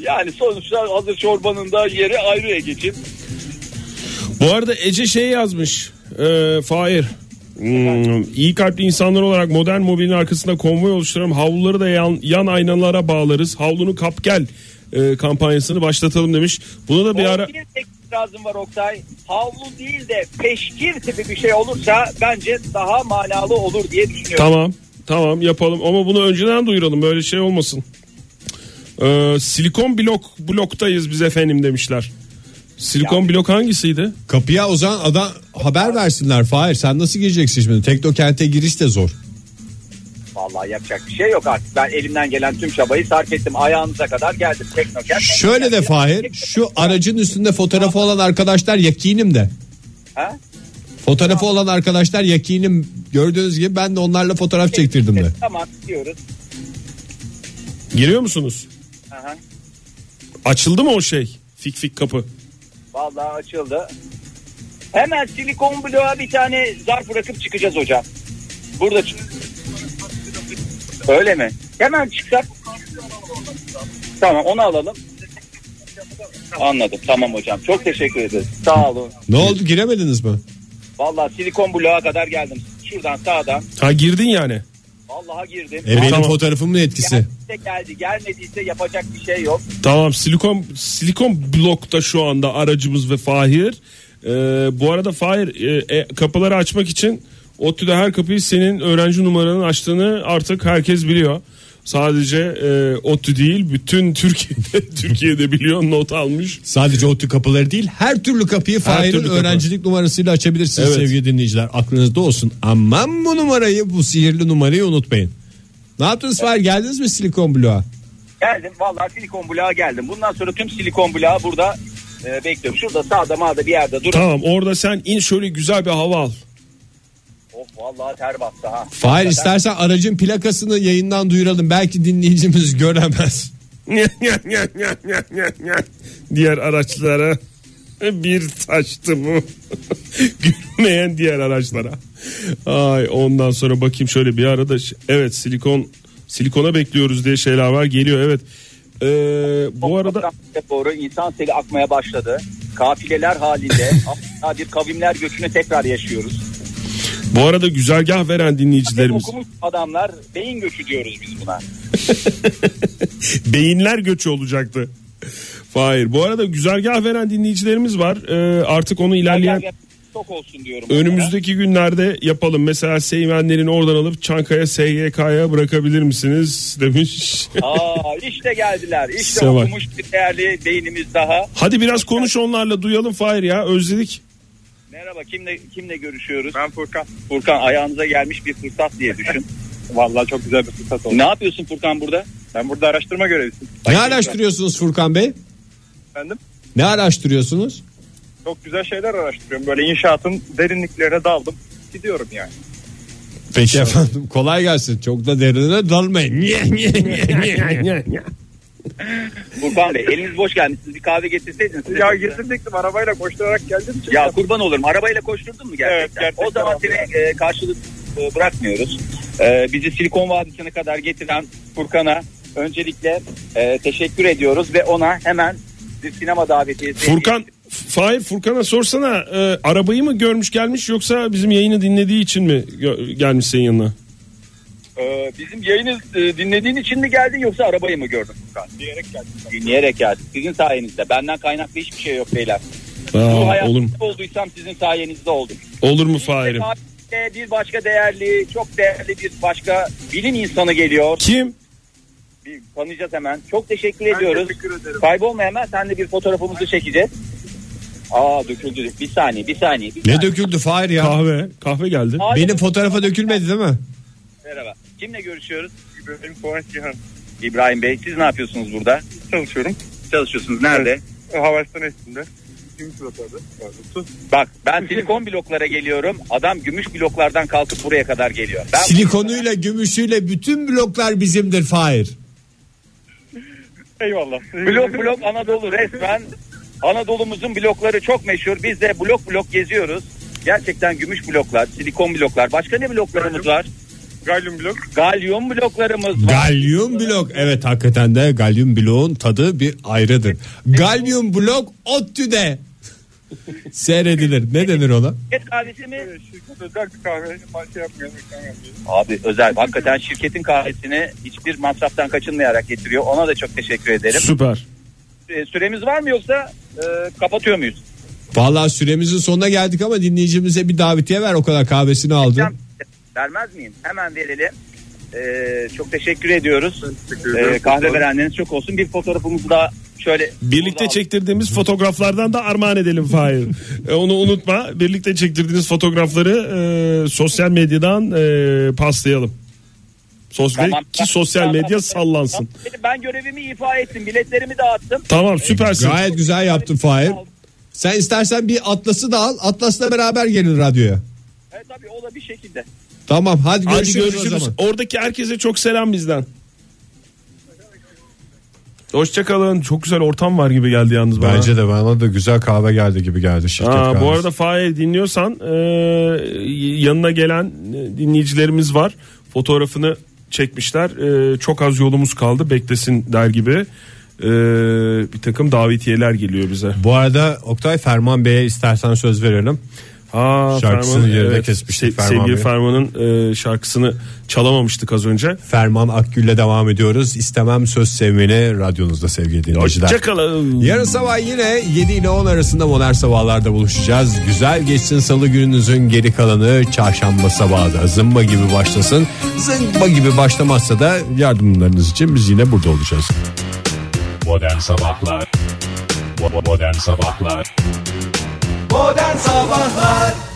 S13: Yani sonuçta hazır çorbanın da yeri ayrı Ege'cim.
S5: Bu arada Ece şey yazmış. E, Fahir. Hmm, iyi kalpli insanlar olarak modern mobilin arkasında konvoy oluşturalım. Havluları da yan, yan aynalara bağlarız. Havlunu kap gel e, kampanyasını başlatalım demiş. Bunu da bir ara
S13: Bir tek itirazım var Oktay. Havlu değil de peşkir tipi bir şey olursa bence daha manalı olur diye düşünüyorum.
S5: Tamam. Tamam yapalım ama bunu önceden duyuralım böyle şey olmasın. Ee, silikon blok bloktayız biz efendim demişler. Silikon blok hangisiydi?
S3: Kapıya o zaman adam haber versinler. Fahir sen nasıl gireceksin şimdi? Teknokent'e giriş de zor.
S13: Vallahi yapacak bir şey yok artık. Ben elimden gelen tüm çabayı sarf ettim. Ayağınıza kadar geldim. Teknokent.
S3: Şöyle de Fahir şu aracın üstünde fotoğrafı olan arkadaşlar yakinim de.
S13: Ha?
S3: Fotoğrafı olan arkadaşlar yakinim gördüğünüz gibi ben de onlarla fotoğraf çektirdim de.
S13: E, Tamam diyoruz.
S5: Giriyor musunuz?
S13: Aha.
S5: Açıldı mı o şey? Fik fik kapı.
S13: Vallahi açıldı. Hemen silikon bloğa bir tane zarf bırakıp çıkacağız hocam. Burada ç- Öyle mi? Hemen çıksak. Tamam onu alalım. Anladım. Tamam hocam. Çok teşekkür ederiz. Sağ olun.
S3: Ne oldu giremediniz mi?
S13: Vallahi silikon bloğa kadar geldim. Şuradan sağdan.
S5: Ha girdin yani.
S13: Vallaha girdim.
S3: E benim
S5: Tamam.
S3: fotoğrafımın etkisi.
S13: Gelmediyse geldi. Gelmediyse yapacak bir şey yok.
S5: Tamam silikon silikon blokta şu anda aracımız ve Fahir. Ee, bu arada Fahir e, e, kapıları açmak için ODTÜ'de her kapıyı senin öğrenci numaranın açtığını artık herkes biliyor. Sadece e, ODTÜ değil bütün Türkiye'de Türkiye'de biliyor not almış.
S3: Sadece ODTÜ kapıları değil her türlü kapıyı Fahir'in
S5: türlü kapı.
S3: öğrencilik numarasıyla açabilirsiniz
S5: Evet.
S3: sevgili dinleyiciler. Aklınızda olsun. Aman bu numarayı bu sihirli numarayı unutmayın. Ne yaptınız Fahir geldiniz mi silikon bloğa?
S13: Geldim vallahi silikon bloğa geldim. Bundan sonra tüm silikon bloğa burada e, bekliyorum. Şurada sağda mağda bir yerde durun.
S5: Tamam orada sen in şöyle güzel bir hava al.
S13: Of Oh, vallahi ter bastı ha.
S3: Fahir istersen aracın plakasını yayından duyuralım. Belki dinleyicimiz göremez.
S5: diğer araçlara bir taştı bu. Gülmeyen diğer araçlara. Ay ondan sonra bakayım şöyle bir arada evet silikon silikona bekliyoruz diye şeyler var geliyor evet. Ee, bu arada
S13: Doğru insan seli akmaya başladı. Kafileler halinde adeta bir kavimler göçünü tekrar yaşıyoruz.
S5: bu arada güzergah veren dinleyicilerimiz
S13: Okumuş adamlar beyin göçü diyoruz biz buna.
S5: beyinler göçü olacaktı. Hayır. Bu arada güzergah veren dinleyicilerimiz var. Ee, artık onu ilerleyen
S13: Çok olsun diyorum.
S5: Önümüzdeki günlerde yapalım. Mesela Seymenlerin oradan alıp Çankaya SYK'ya bırakabilir misiniz demiş.
S13: Aa işte geldiler. İşte
S5: Size bak.
S13: okumuş bir değerli beynimiz daha.
S5: Hadi biraz konuş onlarla duyalım Fahir ya özledik.
S13: Merhaba kimle kimle görüşüyoruz? Ben Furkan. Furkan ayağınıza gelmiş bir fırsat diye düşün. Vallahi çok güzel bir fırsat oldu. Ne yapıyorsun Furkan burada? Ben burada araştırma görevlisiyim.
S3: Ne araştırıyorsunuz Furkan Bey?
S9: Efendim?
S3: Ne araştırıyorsunuz?
S9: Çok güzel şeyler araştırıyorum. Böyle inşaatın derinliklerine daldım. Gidiyorum yani.
S3: Peki efendim kolay gelsin. Çok da derine dalmayın. Nye, nye, nye, nye, nye.
S13: Furkan Bey eliniz boş gelmiş. Siz bir kahve getirseydiniz. size
S9: Ya
S13: çok güzel.
S9: getirecektim arabayla koşturarak geldim. için-
S13: Ya kurban olurum. Arabayla koşturdun mu gerçekten?
S9: Evet, gerçekten
S13: o zaman
S9: abi.
S13: seni e, karşılık e, bırakmıyoruz. E, bizi Silikon Vadisi'ne kadar getiren Furkan'a öncelikle e, teşekkür ediyoruz ve ona hemen bir sinema davetiyesi
S5: Furkan Fahir Furkan'a sorsana e, arabayı mı görmüş gelmiş yoksa bizim yayını dinlediği için mi gö- gelmiş senin yanına?
S13: Ee, bizim yayını e, dinlediğin için mi geldin yoksa arabayı mı gördün Furkan? Dinleyerek geldim. Dinleyerek geldim. Sizin sayenizde. Benden kaynaklı hiçbir şey yok beyler. Bu
S5: Aa,
S13: hayatta
S5: olur mu?
S13: olduysam sizin sayenizde oldum.
S5: Olur mu Fahir'im?
S13: Tarihte Bir başka değerli, çok değerli bir başka bilim insanı geliyor.
S5: Kim?
S13: Bir tanıyacağız hemen. Çok teşekkür ediyoruz. Kaybolma hemen. Senle bir fotoğrafımızı çekeceğiz. Aa döküldü. Bir saniye, bir saniye. Bir
S3: Ne döküldü Fahir ya?
S5: Kahve. Kahve geldi.
S3: Benim fotoğrafa dökülmedi değil mi?
S13: Merhaba. Kimle görüşüyoruz? İbrahim Fuat İbrahim Bey siz ne yapıyorsunuz burada? Çalışıyorum. Çalışıyorsunuz nerede?
S9: Havastan üstünde.
S13: Bak ben silikon bloklara geliyorum. Adam gümüş bloklardan kalkıp buraya kadar geliyor. Ben
S3: Silikonuyla, gümüşüyle bütün bloklar bizimdir Fahir.
S9: Eyvallah.
S13: blok blok Anadolu resmen. Anadolu'muzun blokları çok meşhur. Biz de blok blok geziyoruz. Gerçekten gümüş bloklar, silikon bloklar. Başka ne bloklarımız var?
S9: Galyum blok.
S13: Galyum bloklarımız var.
S3: Galyum blok. Evet hakikaten de galyum bloğun tadı bir ayrıdır. Galyum blok ODTÜ'de seyredilir. Ne denir ona?
S13: Şirket kahvesi mi?
S9: Şirket özel bir kahve. Maçı yapmıyorum. reklam yapmıyorum.
S13: Abi özel hakikaten şirketin kahvesini hiçbir masraftan kaçınmayarak getiriyor. Ona da çok teşekkür ederim.
S5: Süper.
S13: e, süremiz var mı yoksa e, kapatıyor muyuz?
S20: Vallahi süremizin sonuna geldik ama dinleyicimize bir davetiye ver o kadar kahvesini aldı.
S13: Vermez miyim? Hemen verelim. E, çok teşekkür ediyoruz.
S5: ederim.
S13: E, kahve verenleriniz çok olsun. Bir fotoğrafımızı da şöyle
S5: Birlikte çektirdiğimiz fotoğraflardan da armağan edelim Fahir. E, Onu unutma. Birlikte çektirdiğiniz fotoğrafları e, sosyal medyadan e, paslayalım. Sos
S13: Tamam.
S5: Ki sosyal medya sallansın.
S13: Ben görevimi ifa ettim. Biletlerimi dağıttım.
S5: Tamam süpersin.
S20: Gayet güzel yaptın Fahir. Sen istersen bir atlası da al. Atlasla beraber gelin radyoya.
S13: Evet tabii o da bir şekilde.
S20: Tamam hadi görüşürüz, o zaman.
S5: Oradaki herkese çok selam bizden. Hoşçakalın. Çok güzel ortam var gibi geldi yalnız bana.
S3: Bence de bana da güzel kahve geldi gibi geldi şirket
S5: Aa,
S3: kahvesi.
S5: bu arada Fahir dinliyorsan e, yanına gelen e, dinleyicilerimiz var. Fotoğrafını çekmişler. E, çok az yolumuz kaldı beklesin der gibi. E, bir takım davetiyeler geliyor bize.
S3: Bu arada Oktay Ferman Bey'e istersen söz verelim.
S5: Ha,
S3: Şarkısını yerine kesmiştik Ferman
S5: sevgili
S3: Bey.
S5: Ferman'ın e, şarkısını çalamamıştık az önce.
S3: Ferman Akgül'le devam ediyoruz. İstemem söz sevmeni radyonuzda sevgili dinleyiciler.
S5: Hoşçakalın.
S3: Yarın sabah yine 7 ile 10 arasında modern sabahlarda buluşacağız. Güzel geçsin salı gününüzün geri kalanı çarşamba sabahı da zımba gibi başlasın. Zımba gibi başlamazsa da yardımlarınız için biz yine burada olacağız.
S1: Modern Sabahlar Bo- bo- Modern Sabahlar
S2: Modern Sabahlar